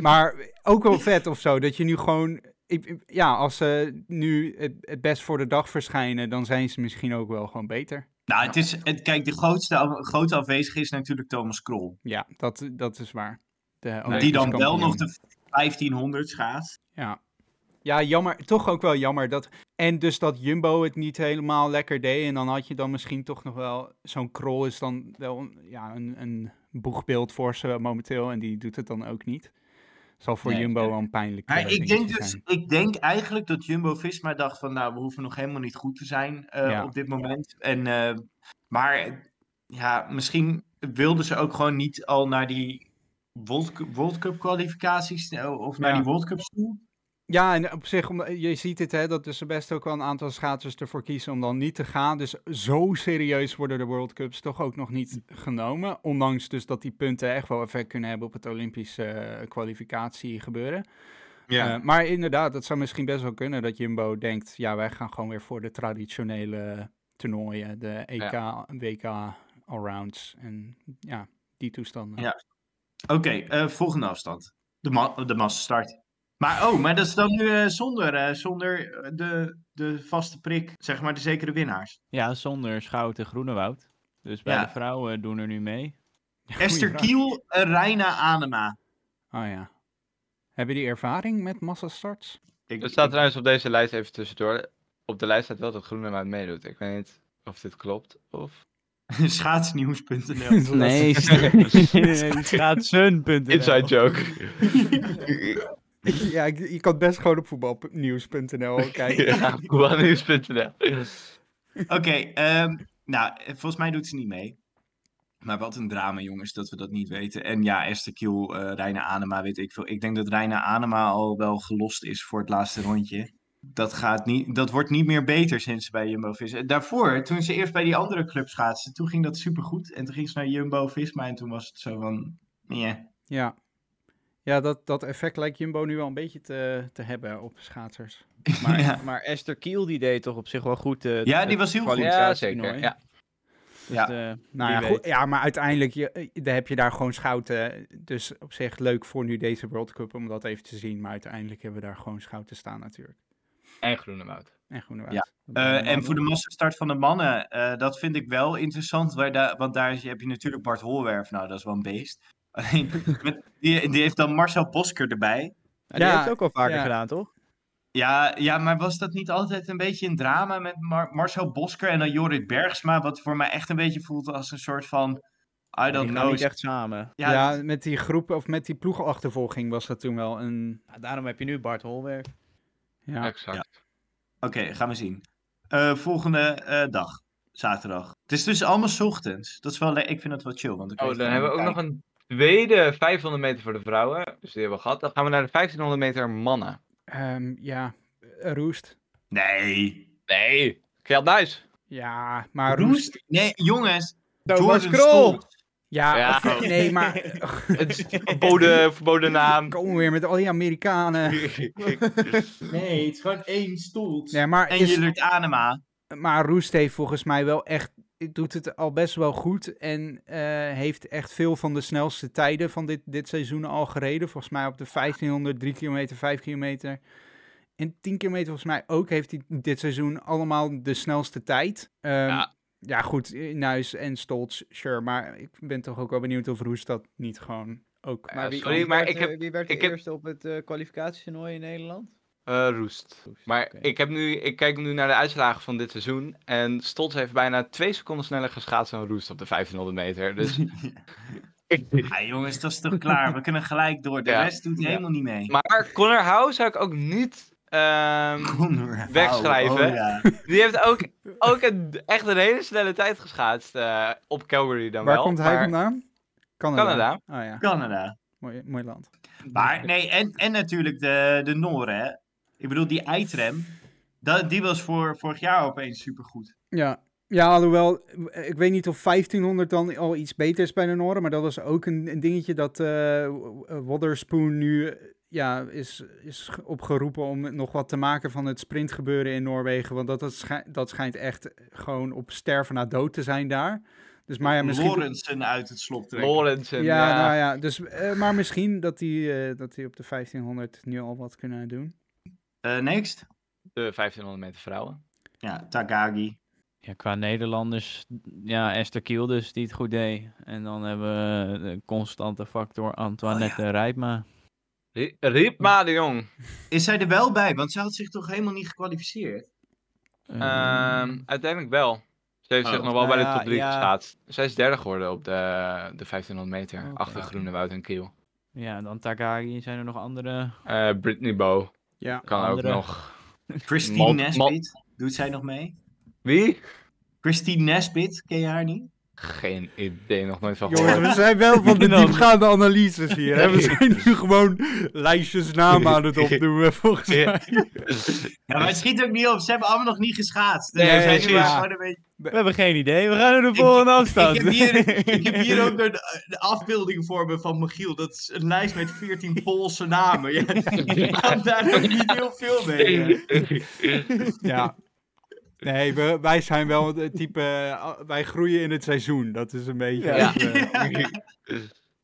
H: maar ook wel vet of zo, dat je nu gewoon... ik- ik- Ja, als ze nu het, het best voor de dag verschijnen, dan zijn ze misschien ook wel gewoon beter.
F: Nou, het is, het, kijk, de grootste, af- grote afwezige is natuurlijk Thomas Krol.
H: Ja, dat, dat is waar. dus De
F: die
H: Olympisch
F: dan wel
H: kampioen.
F: nog de 1500 schaats.
H: Ja. ja, jammer. Toch ook wel jammer. Dat... En dus dat Jumbo het niet helemaal lekker deed. En dan had je dan misschien toch nog wel... Zo'n krol is dan wel een- ja, een, een boegbeeld voor ze momenteel. En die doet het dan ook niet. Zal voor
F: Nee,
H: Jumbo wel een pijnlijk
F: Maar
H: eh,
F: ik denk
H: dingetje
F: dus,
H: zijn.
F: ik denk eigenlijk dat Jumbo Visma dacht van, nou, we hoeven nog helemaal niet goed te zijn eh,
H: Ja.
F: op dit moment. En, eh, maar eh, ja, misschien wilden ze ook gewoon niet al naar die World, Cu- World Cup kwalificaties eh, of naar
H: Ja.
F: die World Cups toe.
H: Ja, en op zich, om- je ziet het hè, dat dus ze best ook wel een aantal schaatsers ervoor kiezen om dan niet te gaan. Dus zo serieus worden de World Cups toch ook nog niet genomen. Ondanks dus dat die punten echt wel effect kunnen hebben op het Olympische eh, kwalificatie gebeuren.
F: Ja.
H: Eh, maar inderdaad, dat zou misschien best wel kunnen dat Jumbo denkt: ja, wij gaan gewoon weer voor de traditionele toernooien, de E EK, WK, allrounds en ja, die toestanden.
F: Ja. Oké, eh, volgende afstand. De, ma de massastart. Maar oh, maar dat is dan nu eh, zonder, eh, zonder eh, de, de vaste prik, zeg maar de zekere
H: <laughs>
F: winnaars.
I: Ja, zonder Schouten Groenewoud. Dus bij
F: Ja.
I: de vrouwen doen er nu mee.
F: Esther
H: vraag.
F: Kiel, en Reina Anema.
H: Oh ja. Hebben die ervaring met massastarts?
F: Ik,
G: Er staat
F: ik-
G: trouwens op deze lijst even tussendoor. Op de lijst staat wel dat Groene Maat meedoet. Ik weet niet of dit klopt. Of...
F: <laughs>
H: <laughs>
F: Schaatsnieuws.nl.
I: <laughs> Nee, het gaat sun.nl.
J: <laughs>
G: Inside joke.
H: ja, ik- je kan het best gewoon op <laughs> voetbalnieuws.nl kijken.
G: <laughs> ja, voetbalnieuws.nl.
F: Oké, ehm, nou, eh, volgens mij doet ze niet mee. Maar wat een drama, jongens, dat we dat niet weten. En ja, Esther Kiel, eh Reina Anema, weet ik veel. Ik denk dat Reina Anema al wel gelost is voor het laatste rondje. Dat, gaat niet, dat wordt niet meer beter sinds ze bij Jumbo-Visma. En Daarvoor, toen ze eerst bij die andere club schaatste, toen ging dat supergoed. En toen ging ze naar Jumbo-Visma en toen was het zo van, nee.
H: Ja. Ja, dat, dat effect lijkt Jumbo nu wel een beetje te, te hebben op
F: <laughs>
H: schaatsers. Maar,
F: ja.
I: Maar Esther Kiel die deed toch op zich wel goed. eh,
F: Ja,
I: het
F: die was heel goed.
G: Ja,
I: kwalificatietoernooi.
G: zeker. Ja.
I: Dus,
F: Ja.
I: eh,
H: Nou ja,
I: wie weet.
H: goed, ja, maar uiteindelijk je, eh, dan heb je daar gewoon schouten. Dus op zich leuk voor nu deze World Cup om dat even te zien. Maar uiteindelijk hebben we daar gewoon schouten staan natuurlijk.
J: En groene mout.
H: En groene
F: Ja.
H: uit.
F: Eh, en voor de massastart van de mannen, eh, dat vind ik wel interessant. Waar da- want daar is- heb je natuurlijk Bart Holwerf. Nou, dat is wel een beest. <laughs> Alleen, met, die, die heeft dan Marcel Bosker erbij.
I: Ja, die
H: Ja,
I: heeft het ook al vaker
H: ja.
I: gedaan, toch?
F: Ja, ja, maar was dat niet altijd een beetje een drama met Mar- Marcel Bosker en dan Jorrit Bergsma? Wat voor mij echt een beetje voelt als een soort van... I
I: Die
F: don't
I: gaan
F: know.
I: niet echt samen.
F: Ja, dus-
H: Ja, met die groep of met die ploegachtervolging was dat toen wel een.
I: Ja, daarom heb je nu Bart Holwerf.
H: Ja.
G: Exact.
F: Oké, gaan we zien. Eh, volgende eh, dag, zaterdag. Het is dus allemaal 's ochtends. Dat is wel le- ik vind dat wel chill. Want ik
J: Oh,
F: weet
J: dan
F: gewoon
J: hebben we ook
F: mijn
J: nog een tweede 500 meter voor de vrouwen. Dus die hebben we gehad. Dan gaan we naar de 1500 meter mannen.
H: Ehm, ja, eh, Roest.
F: tijd. Nee.
J: Nee. Kjeld Nuis.
H: Ja, maar Roest.
F: Roest? Nee, jongens.
I: Thomas
F: Jordan
I: Krol.
F: Stolz.
H: Ja,
J: Ja.
H: of- <laughs> nee, maar.
J: Het is verboden, verboden naam.
H: Komen we weer met al die Amerikanen.
F: Nee, het is gewoon één stoel.
H: Nee, maar,
F: en
H: is,
F: Julert Anema.
H: maar Roest heeft volgens mij wel echt. Doet het al best wel goed. En eh, heeft echt veel van de snelste tijden van dit, dit seizoen al gereden. Volgens mij op de 1500, 3 kilometer, 5 kilometer. En 10 kilometer volgens mij ook heeft hij dit seizoen allemaal de snelste tijd. Ehm, ja.
G: Ja.
H: goed. eh, Nuis en Stolz, sure. Maar ik ben toch ook wel benieuwd of Roest dat niet gewoon ook.
G: Maar wie-
J: Sorry, maar ik heb
I: Wie werd
J: de ik heb-
I: eerste op het kwalificatietoernooi in Nederland?
G: Eh, roest. Maar ik, heb nu, ik kijk nu naar de uitslagen van dit seizoen. En Stolz heeft bijna twee seconden sneller geschaatst dan Roest op de 1500 meter. Dus <laughs>
F: Ja, jongens, dat is toch klaar? We kunnen gelijk door. De
G: Ja.
F: rest doet helemaal niet mee.
G: Maar Connor Howe zou ik ook niet. ehm,
F: Connor,
G: Wegschrijven.
F: oh ja.
G: die heeft ook, ook een, echt een hele snelle tijd geschaatst. eh, op Calgary dan
H: Waar
G: wel.
H: komt hij
G: maar-
H: vandaan? Canada.
G: Canada.
H: Oh ja,
F: Canada.
H: mooi, mooi land.
F: nou. Maar nee, en, en natuurlijk de, de Noren. hè. Ik bedoel, die Eitrem. Dat, die was voor, vorig jaar opeens supergoed.
H: Ja. ja, alhoewel, eh, ik weet niet of 1500 dan al iets beter is bij de Noren, maar dat was ook een, een dingetje dat eh Waterspoon nu eh, ja, is, is ge- opgeroepen om nog wat te maken van het sprintgebeuren in Noorwegen. Want dat, dat, schij- dat schijnt echt eh, gewoon op sterven na dood te zijn daar. Dus maar ja, misschien...
F: Lorensen uit het slop trekken.
G: Lawrence. en,
H: Ja,
G: ja,
H: nou ja, dus, eh, maar misschien dat die, eh, dat die op de 1500 nu al wat kunnen doen.
F: Eh, next.
G: De 1500 meter vrouwen.
F: Ja, Tagagi.
I: Ja, qua Nederlanders, ja, Esther Kiel dus, die het goed deed. En dan hebben we de constante
G: Oh,
I: factor Antoinette Rijpma.
G: Ri- Riepma de Jong.
F: Is zij er wel bij? Want zij had zich toch helemaal niet gekwalificeerd?
G: Ehm, uiteindelijk wel. Ze heeft
F: Oh.
G: zich nog wel bij
I: Nou
G: de
I: ja,
G: top 3
I: ja.
G: geschaatst. Zij is derde geworden op de, de 1500 meter.
I: Oké.
G: Achter Groenewoud en Kiel.
I: ja, dan Takagi, zijn er nog andere?
G: Eh Brittany Bow.
H: Ja.
G: Kan
I: Andere.
G: ook nog.
F: Christine
G: Mal- Mal-
F: Nesbit. Doet zij nog mee?
G: Wie?
F: Christine Nesbit, ken je haar niet?
G: Geen idee, nog nooit van
H: Jongens,
G: gehoord.
H: we zijn wel <laughs> van de
I: Dan-
H: diepgaande analyses hier.
I: <laughs>
H: Hè? We zijn nu gewoon lijstjes namen aan het opdoen, <laughs> volgens
G: Ja.
H: mij.
F: Ja, maar het schiet ook niet op. Ze hebben allemaal nog niet geschaatst. Eh,
G: Nee,
F: Ze zijn
G: precies.
F: nu maar gewoon een beetje-
I: We hebben geen idee, we gaan naar de volgende afstand.
F: Ik heb hier, ik heb hier <laughs> ook een, een afbeelding voor me van Michiel. Dat is een lijst met 14 Poolse namen. <laughs> Ja, je kan daar ook niet heel veel mee. hè.
H: Ja. Nee, we- wij zijn wel het type... eh, Wij groeien in het seizoen. Dat is een beetje...
F: <laughs>
G: Ja.
H: eh,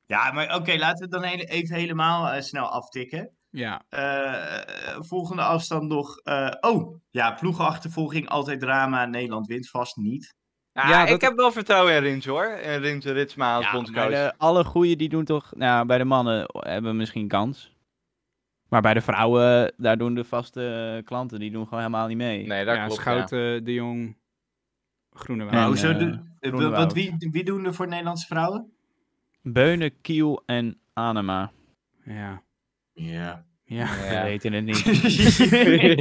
F: Ja, maar oké, laten we het dan hele- even helemaal eh, snel aftikken.
H: <laughs> ja.
F: Eh, volgende afstand nog. eh, oh, ja, ploegenachtervolging, altijd drama. Nederland wint vast
G: <laughs>
F: niet.
G: Ja,
H: Ja, dat-
G: ik heb wel vertrouwen in Rins hoor. In Rins Ritsma als
I: <laughs> maar
G: bondscoach.
I: de, alle goeie die doen toch, nou, bij de mannen hebben misschien kans. Maar bij de vrouwen, daar doen de vaste eh, klanten, die doen gewoon helemaal niet mee.
G: Nee, dat
H: ja
G: klopt.
H: Schout, eh, De Jong, Groenewoud.
I: En,
F: Nou, zo
I: eh,
F: doen- eh,
I: Groenewoud.
F: wat, wie, wie doen er voor Nederlandse vrouwen?
I: Beunen, Kiel en Anema.
H: Ja.
F: Ja.
H: Ja.
G: ja.
I: We
G: Ja.
I: weten het niet.
F: <laughs>
I: <laughs>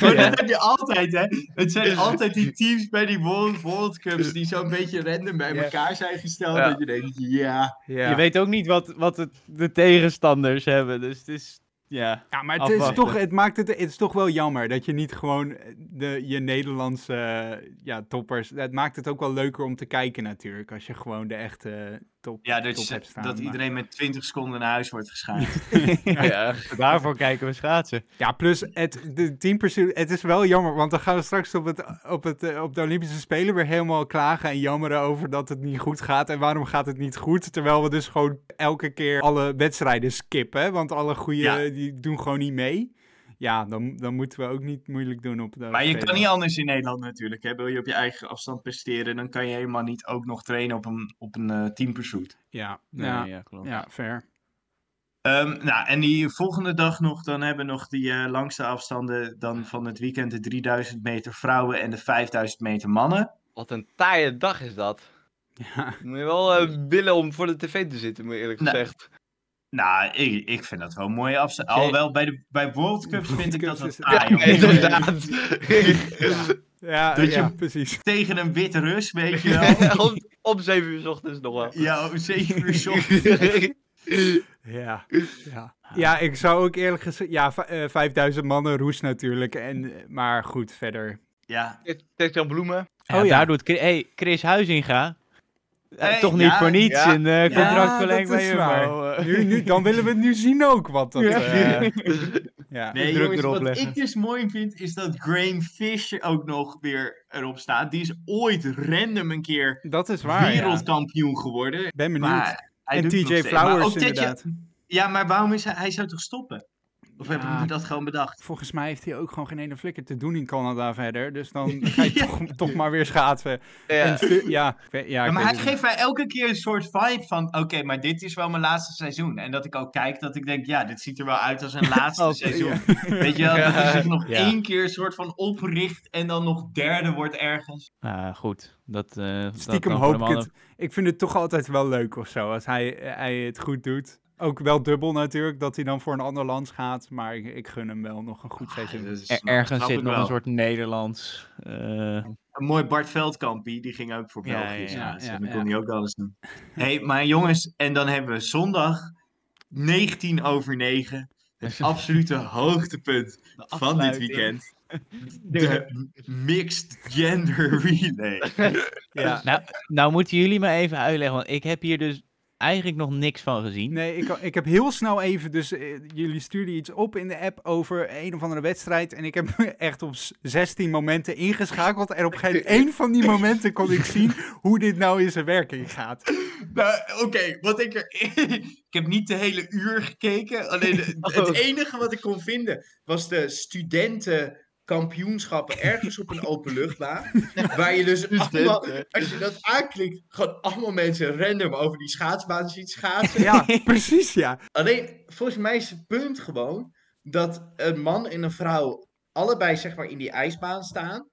F: Maar dat heb je altijd, hè? Het zijn altijd die teams bij die World, World Cups die zo'n beetje random bij
H: Ja.
F: elkaar zijn gesteld.
G: Ja.
F: Dat je denkt, ja.
H: Ja.
I: Je weet ook niet wat, wat het, de tegenstanders hebben. Dus het is. Ja.
H: Ja, maar het, is
I: Afwachten.
H: toch, het, maakt het, het is toch wel jammer dat je niet gewoon eh, de, je Nederlandse eh, ja, toppers... Het maakt het ook wel leuker om te kijken natuurlijk, als je gewoon de echte top,
F: Ja, dat,
H: top
F: je-
H: hebt staan.
F: dat
H: maar-
F: iedereen met 20 seconden naar huis wordt geschaamd.
I: <laughs>
G: Ja,
I: Dus Daarvoor kijken we schaatsen.
H: Ja, plus het, de teampersoon, het is wel jammer, want dan gaan we straks op, het, op, het, eh, op de Olympische Spelen weer helemaal klagen en jammeren over dat het niet goed gaat en waarom gaat het niet goed, terwijl we dus gewoon elke keer alle wedstrijden skippen, hè, want alle goede
F: Ja.
H: die doen gewoon niet mee. Ja, dan, dan moeten we ook niet moeilijk doen op de
F: maar je
H: Spelen.
F: kan niet anders in Nederland natuurlijk. Hè? Wil je op je eigen afstand presteren, dan kan je helemaal niet ook nog trainen op een, op een eh teampursuit.
H: Ja,
G: Nee,
H: ja,
G: ja, klopt.
H: ja, fair.
F: Ehm, nou, en die volgende dag nog, dan hebben we nog die eh, langste afstanden dan van het weekend. De 3000 meter vrouwen en de 5000 meter mannen.
J: Wat een taaie dag is dat.
H: Ja.
J: Moet je wel eh, willen om voor de tv te zitten, moet je eerlijk
F: Nee.
J: gezegd.
F: Nou, ik, ik vind dat wel een mooie afstand. Alhoewel, bij, de, bij World Cups vind ik
H: Cups
F: dat wel
H: is-
F: taai.
J: Ja,
F: hoor.
J: inderdaad.
H: Ja, ja,
F: Dat dus je-
H: precies.
F: Tegen een witte rus, weet je
G: <laughs>
F: wel.
J: om, om 7 uur 's ochtends nog wel.
F: Ja, oh, om 7 uur 's ochtends.
H: Ja, ja. ja, ik zou ook eerlijk gezegd, ja, v- eh, 5000 mannen roes natuurlijk, en, eh, maar goed, verder.
F: Ja,
J: Tegen Jan Bloemen.
I: Ja,
H: Oh ja.
I: Daar doet Chris, hey, Chris Huizinga. eh,
F: Hey,
I: toch niet
F: ja,
I: voor niets
J: ja.
I: een eh, contract
H: Ja,
I: verlengd
H: Ah, dat
I: bij
H: is
I: Jumbo. eh.
H: Nu, nu, dan willen we het nu zien ook, wat dat...
I: Ja.
H: eh, <laughs> ja.
F: Nee,
I: druk
F: jongens,
I: erop
F: wat
I: leggen.
F: ik dus mooi vind, is dat Graham Fisher ook nog weer erop staat. Die is ooit random een keer
H: Dat is waar. ja.
F: wereldkampioen geworden.
H: Ben benieuwd.
F: Maar hij
H: en
F: doet het nog
H: TJ
F: steeds. Maar
H: Flowers
F: ook dat je-
H: inderdaad.
F: Ja, maar waarom is hij... Hij zou toch stoppen? Of hebben
H: Ja.
F: jullie dat gewoon bedacht?
H: Volgens mij heeft hij ook gewoon geen ene flikker te doen in Canada verder. Dus <laughs> dan ga je toch, toch maar weer schaatsen. En stu- ja, ik weet- ja, ik
F: Ja, maar
H: weet
F: hij
H: het
F: geeft mij elke keer een soort vibe van... Oké, maar dit is wel mijn laatste seizoen. En dat ik ook kijk, dat ik denk... Ja, dit ziet er wel uit als
I: <laughs>
F: een laatste
H: Als-
F: seizoen. Weet je wel, dat hij zich nog
I: Oh, Ja.
F: één keer een soort van opricht... en dan nog derde wordt ergens.
I: Nou, goed. Dat, eh, dat
H: niet. Stiekem
I: kan voor de
H: hoop ik het.
I: mannen.
H: Ik vind het toch altijd wel leuk of zo. Als hij, hij het goed doet. Ook wel dubbel natuurlijk, dat hij dan voor een ander land gaat. Maar ik, ik gun hem wel nog een goed seizoen.
F: Dat is-
I: Er- ergens
F: snap
I: zit
F: ik
I: nog
F: wel.
I: een soort Nederlands. eh,
F: Een mooi Bart Veldkampie, die ging ook voor
I: Ja,
F: België.
I: ja,
F: Ja,
H: ja,
F: dan
H: ja.
F: kon hij ook alles doen. <laughs> hey, maar jongens, en dan hebben we zondag 19 over 9. Het absolute hoogtepunt van dit
I: afsluiting.
F: weekend. De mixed gender <laughs> relay.
H: Ja.
I: nou, nou moeten jullie me even uitleggen, want ik heb hier dus eigenlijk nog niks van gezien.
H: Nee, ik, ik heb heel snel even, dus eh, jullie stuurden iets op in de app over een of andere wedstrijd. En ik heb <laughs> echt op s- 16 momenten ingeschakeld. En op geen één van die momenten kon ik zien hoe dit nou in zijn werking gaat.
F: Nou, oké, wat ik er. <laughs> ik heb niet de hele uur gekeken. Alleen de- het enige wat ik kon vinden was de studentenkampioenschappen ergens op een openluchtbaan. waar je dus allemaal, als je dat aanklikt, gewoon allemaal mensen random over die schaatsbaan ziet schaatsen.
H: Ja,
I: <laughs>
H: precies ja.
F: Alleen, volgens mij is het punt gewoon dat een man en een vrouw allebei zeg maar in die ijsbaan staan.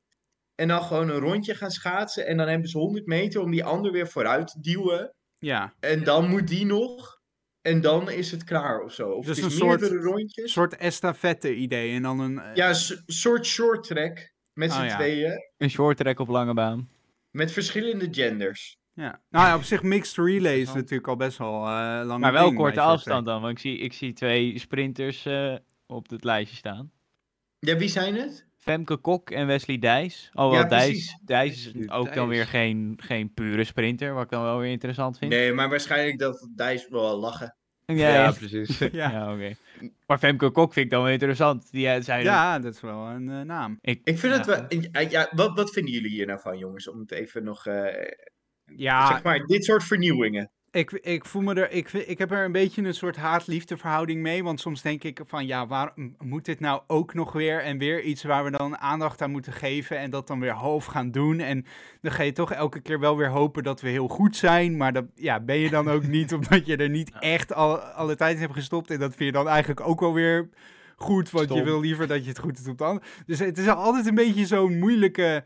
F: En dan gewoon een rondje gaan schaatsen. En dan hebben ze 100 meter om die ander weer vooruit te duwen.
H: Ja,
F: En dan moet die nog. En dan is het klaar of zo. Of
H: Dus
F: het is
H: een soort-
F: meerdere rondjes.
H: een soort estafette idee. En dan een... eh,
F: Ja, een so- soort short track. Met
H: Oh,
F: z'n
H: ja.
F: tweeën.
I: Een short track op lange baan.
F: Met verschillende genders.
H: ja. Nou ja, op zich mixed relay is natuurlijk al best wel eh lang.
I: Maar wel
H: ding,
I: korte
H: weet je,
I: afstand dan, want ik zie, ik zie twee sprinters eh, op het lijstje staan.
F: Ja, wie zijn het?
I: Femke Kok en Wesley Dijs. Alhoewel
F: Ja, precies.
I: Dijs, Dijs is ook dan
G: Dijs.
I: weer geen, geen pure sprinter, wat ik dan wel weer interessant vind.
F: Nee, maar waarschijnlijk dat Dijs wel lachen.
I: Ja,
G: ja,
I: ja,
G: precies.
H: Ja.
I: ja, oké. Maar Femke Kok vind ik dan wel interessant. Die eh, zijn
H: Ja, dat is wel een eh, naam.
I: ik,
F: Ik vind
I: ja.
F: het wel... Ja, ja, wat, wat vinden jullie hier nou van, jongens? Om het even nog... eh,
H: Ja,
F: Zeg maar, dit soort vernieuwingen.
H: Ik, ik voel me er, ik, vi- ik heb er een beetje een soort haat-liefde verhouding mee. Want soms denk ik van ja, waarom moet dit nou ook nog weer? En weer iets waar we dan aandacht aan moeten geven. En dat dan weer half gaan doen. En dan ga je toch elke keer wel weer hopen dat we heel goed zijn. Maar dat ja, ben je dan ook niet, omdat je er niet echt al, alle tijd in hebt gestopt. En dat vind je dan eigenlijk ook wel weer goed. Want je
G: Stom.
H: wil liever dat je het goed doet op de ander. Dus het is altijd een beetje zo'n moeilijke.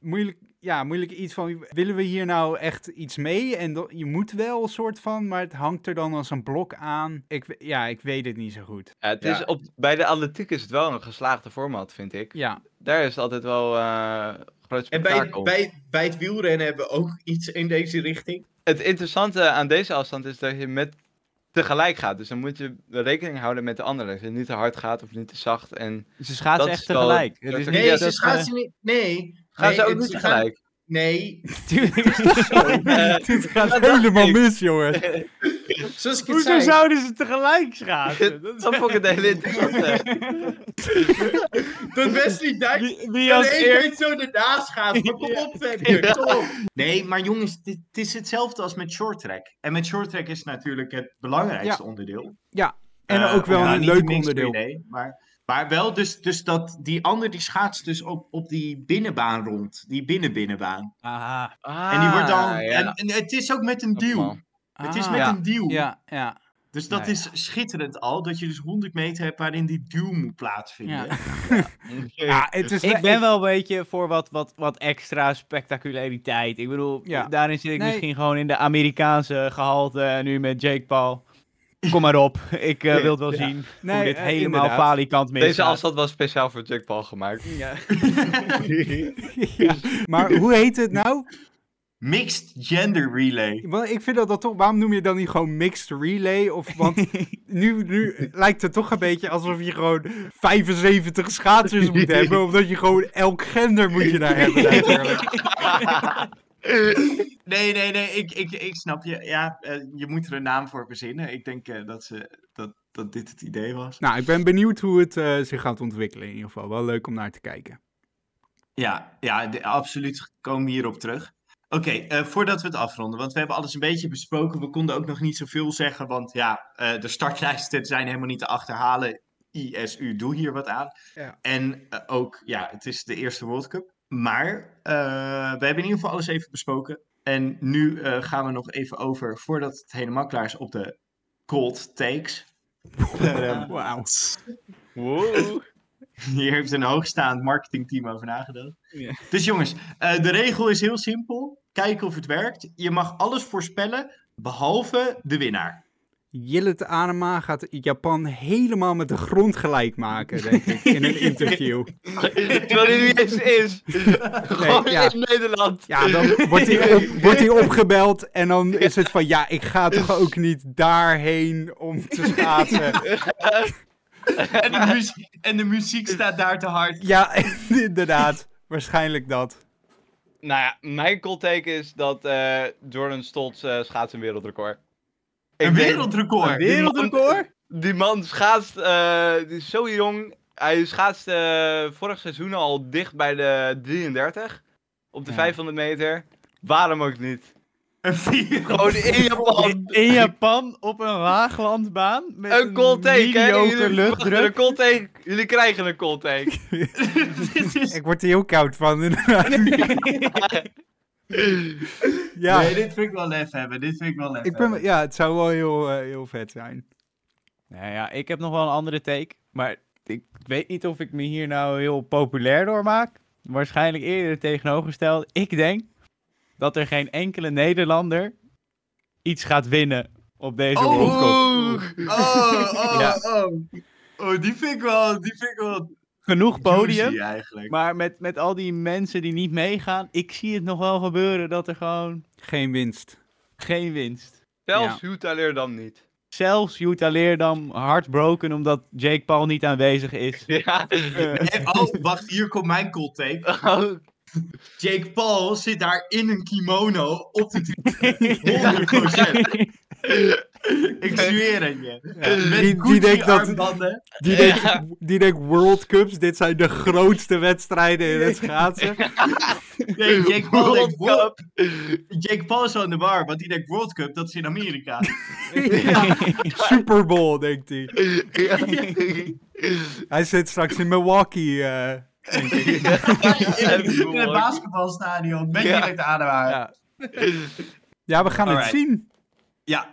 H: Moeilijk, ja, moeilijk iets van, willen we hier nou echt iets mee? En dat- je moet wel, een soort van, maar het hangt er dan als een blok aan. Ik, we- ja, ik weet het niet zo goed.
G: Ja, het
F: Ja.
G: Is op, bij de atletiek is het wel een geslaagde format, vind ik.
H: Ja,
G: Daar is het altijd wel eh groot
F: En bij,
G: spektakel.
F: bij, bij het wielrennen hebben we ook iets in deze richting.
G: Het interessante aan deze afstand is dat je met tegelijk gaat. Dus dan moet je rekening houden met de ander. Dat je niet te hard gaat of niet te zacht. En
I: Ze schaatsen
G: Dat
I: echt
G: is wel-
I: tegelijk.
G: dat
I: Het is
G: is-
I: niet
F: Nee,
G: Ja,
I: dat
F: ze
I: ze-
F: schaatsen niet... Nee.
G: gaan
F: Nee,
G: ze ook
F: het-
G: niet
F: gaan-
G: tegelijk?
F: Nee,
I: Tuurlijk <laughs> is dat zo.
H: Dit gaat helemaal mis, jongen.
F: zoals ik het
I: Hoezo
F: zei.
I: zouden ze tegelijk schaatsen? Dat is
J: Dat vond ik het hele interessant.
F: Dat Wesley Dijk
I: wie, wie als
F: als
I: eerst...
F: eerst zo ernaast gaat. Wat een opwekking, toch? Nee, maar jongens, dit, het is hetzelfde als met short track. En met short track is natuurlijk het belangrijkste onderdeel.
A: Ja, en
F: Eh,
A: ook wel
F: nou,
A: een
F: niet de
A: leuk
F: minste
A: onderdeel.
F: idee, maar, maar wel dus, dus dat die ander die schaatst dus op, op die binnenbaan rond. Die binnenbinnenbaan.
A: Aha.
F: <laughs> en die wordt dan...
J: Ah, ja.
F: En, en het is ook met een duw. Het is met
A: Ah,
F: een duw.
A: Ja,
F: <laughs>
A: ja.
F: Dus dat
A: Nou ja.
F: is schitterend al. Dat je dus 100 meter hebt waarin die duw moet plaatsvinden.
A: Ja.
I: Ja,
H: het is
I: ik ben wel een beetje voor wat, wat, wat extra spectaculariteit. Ik bedoel,
A: Ja.
I: daarin zit ik
A: Nee.
I: misschien gewoon in de Amerikaanse gehalte. En nu met Jake Paul. Kom maar op, ik eh, wil het wel zien
A: Nee,
I: hoe dit
A: eh,
I: helemaal
A: inderdaad.
I: falikant misgaat.
G: Deze afstand was speciaal voor Jack Paul gemaakt.
A: Maar hoe heet het nou?
F: <laughs> Mixed gender relay.
A: Want ik vind dat, dat toch... Waarom noem je dan niet gewoon mixed relay? Of, want nu, nu lijkt het toch een beetje alsof je gewoon 75 schaatsers moet hebben. Omdat je gewoon elk gender moet je daar hebben. natuurlijk.
F: Nee, nee, nee, ik, ik, ik snap je. Ja, eh, je moet er een naam voor verzinnen. Ik denk eh, dat, ze, dat, dat dit het idee was.
A: Nou, ik ben benieuwd hoe het eh, zich gaat ontwikkelen in ieder geval. Wel leuk om naar te kijken.
F: Ja, ja de- absoluut komen we hierop terug. Oké, eh, voordat we het afronden, want we hebben alles een beetje besproken. We konden ook nog niet zoveel zeggen, want ja, eh, de startlijsten zijn helemaal niet te achterhalen. ISU, doe hier wat aan.
H: Ja.
F: En eh, ook, ja, het is de eerste World Cup. Maar eh, we hebben in ieder geval alles even besproken. En nu eh, gaan we nog even over, voordat het helemaal klaar is, op de cold takes. Ehm,
A: Wauw.
I: Wow.
F: hier heeft een hoogstaand marketingteam over nagedacht.
I: Ja.
F: Dus jongens, eh, de regel is heel simpel. Kijken of het werkt. Je mag alles voorspellen, behalve de winnaar.
A: Jillet Anema gaat Japan helemaal met de grond gelijk maken, denk ik, <laughs> in een interview.
J: Terwijl hij niet eens is.
A: Nee, ja,
J: In Nederland.
A: ja, dan wordt hij, op- wordt hij
F: <laughs>
A: opgebeld en dan is het van, ja, ik ga toch ook niet daarheen om te schaatsen.
F: En de, muzie- en de muziek staat daar te hard.
A: Ja, <laughs> inderdaad, waarschijnlijk dat.
G: <laughs> Nou ja, mijn cold take is dat eh, Jordan Stoltz eh, schaats een wereldrecord. Ik
F: Een
G: denk-
F: wereldrecord.
G: Wereldrecord? Die man schaatst, eh, die is zo jong. Hij schaatste eh, vorig seizoen al dicht bij de 33. Op de
A: Ja.
G: 500 meter. Waarom ook niet?
F: Een
G: <laughs>
F: wereld-
G: Gewoon
A: <laughs>
G: in Japan.
I: In- In Japan op een laaglandbaan met
G: Een cold take, hè?
I: mediocre
G: Jullie, wachten,
I: luchtdruk.
G: een cold take. Jullie krijgen een cold take.
F: Dit is-
A: Ik word er heel koud van, inderdaad. Ja,
F: Nee, dit vind ik wel lef hebben. Dit vind ik wel lef
A: ik ben,
F: hebben.
A: ja het zou wel heel, eh, heel vet zijn.
I: Nou ja, ik heb nog wel een andere take. Maar ik weet niet of ik me hier nou heel populair door maak. Waarschijnlijk eerder het tegenovergestelde. Ik denk dat er geen enkele Nederlander iets gaat winnen op deze
F: Oh.
I: World Cup.
F: Oh, oh,
I: Ja.
F: oh. Oh, die vind ik wel, die vind ik wel
I: Genoeg podium.
F: juicy eigenlijk.
I: Maar met, met al die mensen die niet meegaan, ik zie het nog wel gebeuren dat er gewoon
A: Geen winst.
I: geen winst.
G: Zelfs Jutta Leer dan niet.
I: Zelfs Jutta Leerdam heartbroken omdat Jake Paul niet aanwezig is.
G: Ja.
F: Nee, oh, wacht, hier komt mijn cold
G: <laughs>
F: take. Jake Paul zit daar in een kimono op de
I: <laughs>
F: tribune. 100%. <laughs> Ik zweer het je. Met
A: Die- die
F: Gucci
A: denkt dat-
F: armbanden.
A: Die denkt, die denkt World Cups, dit zijn de grootste wedstrijden in het <laughs> schaatsen.
F: <laughs> Nee, Jake Paul
G: World
F: denkt World Jake Paul is wel in de war, want die denkt World Cup, dat is in Amerika.
A: Super Bowl, denkt hij. <laughs> Hij zit straks in Milwaukee. eh.
F: <laughs> in, het, in het basketbalstadion, ben je direct aan de war. Ja,
A: Ja, we gaan
F: Alright.
A: het zien.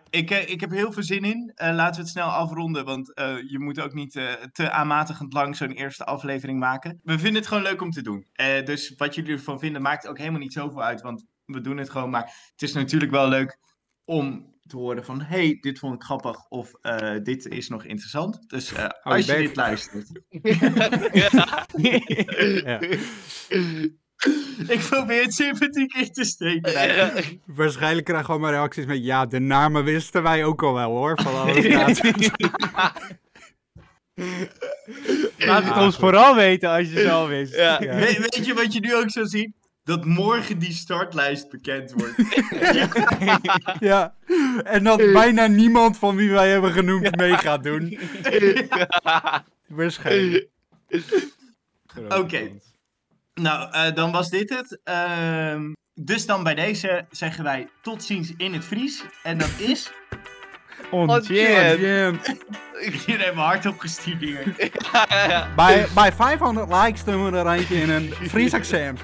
F: ik, eh, ik heb er heel veel zin in. Eh, laten we het snel afronden, want eh, je moet ook niet eh, te aanmatigend lang zo'n eerste aflevering maken. We vinden het gewoon leuk om te doen. Eh, dus wat jullie ervan vinden maakt ook helemaal niet zoveel uit, want we doen het gewoon. Maar het is natuurlijk wel leuk om te horen van, hey, dit vond ik grappig of eh, dit is nog interessant. Dus eh, als je
A: bek.
F: dit luistert. <laughs> Ik probeer het sympathiek in te steken.
G: uh,
A: Waarschijnlijk krijgen we allemaal reacties met... Ja, de namen wisten wij ook al wel hoor. Van <laughs> alle schaatsen.
I: Laat het ons vooral weten als je het al wist.
F: We- weet je wat je nu ook zo ziet? dat morgen die startlijst bekend wordt.
A: Ja. En dat bijna niemand van wie wij hebben genoemd mee gaat doen. Waarschijnlijk.
F: Oké. Nou, eh, dan was dit het. Ehm, dus dan bij deze zeggen wij tot ziens in het Fries. En dat is...
I: Ontjeerd.
F: <laughs> Hier hebben we hard op gestudeerd.
A: Bij, bij 500 likes doen we er eentje in een Fries accent.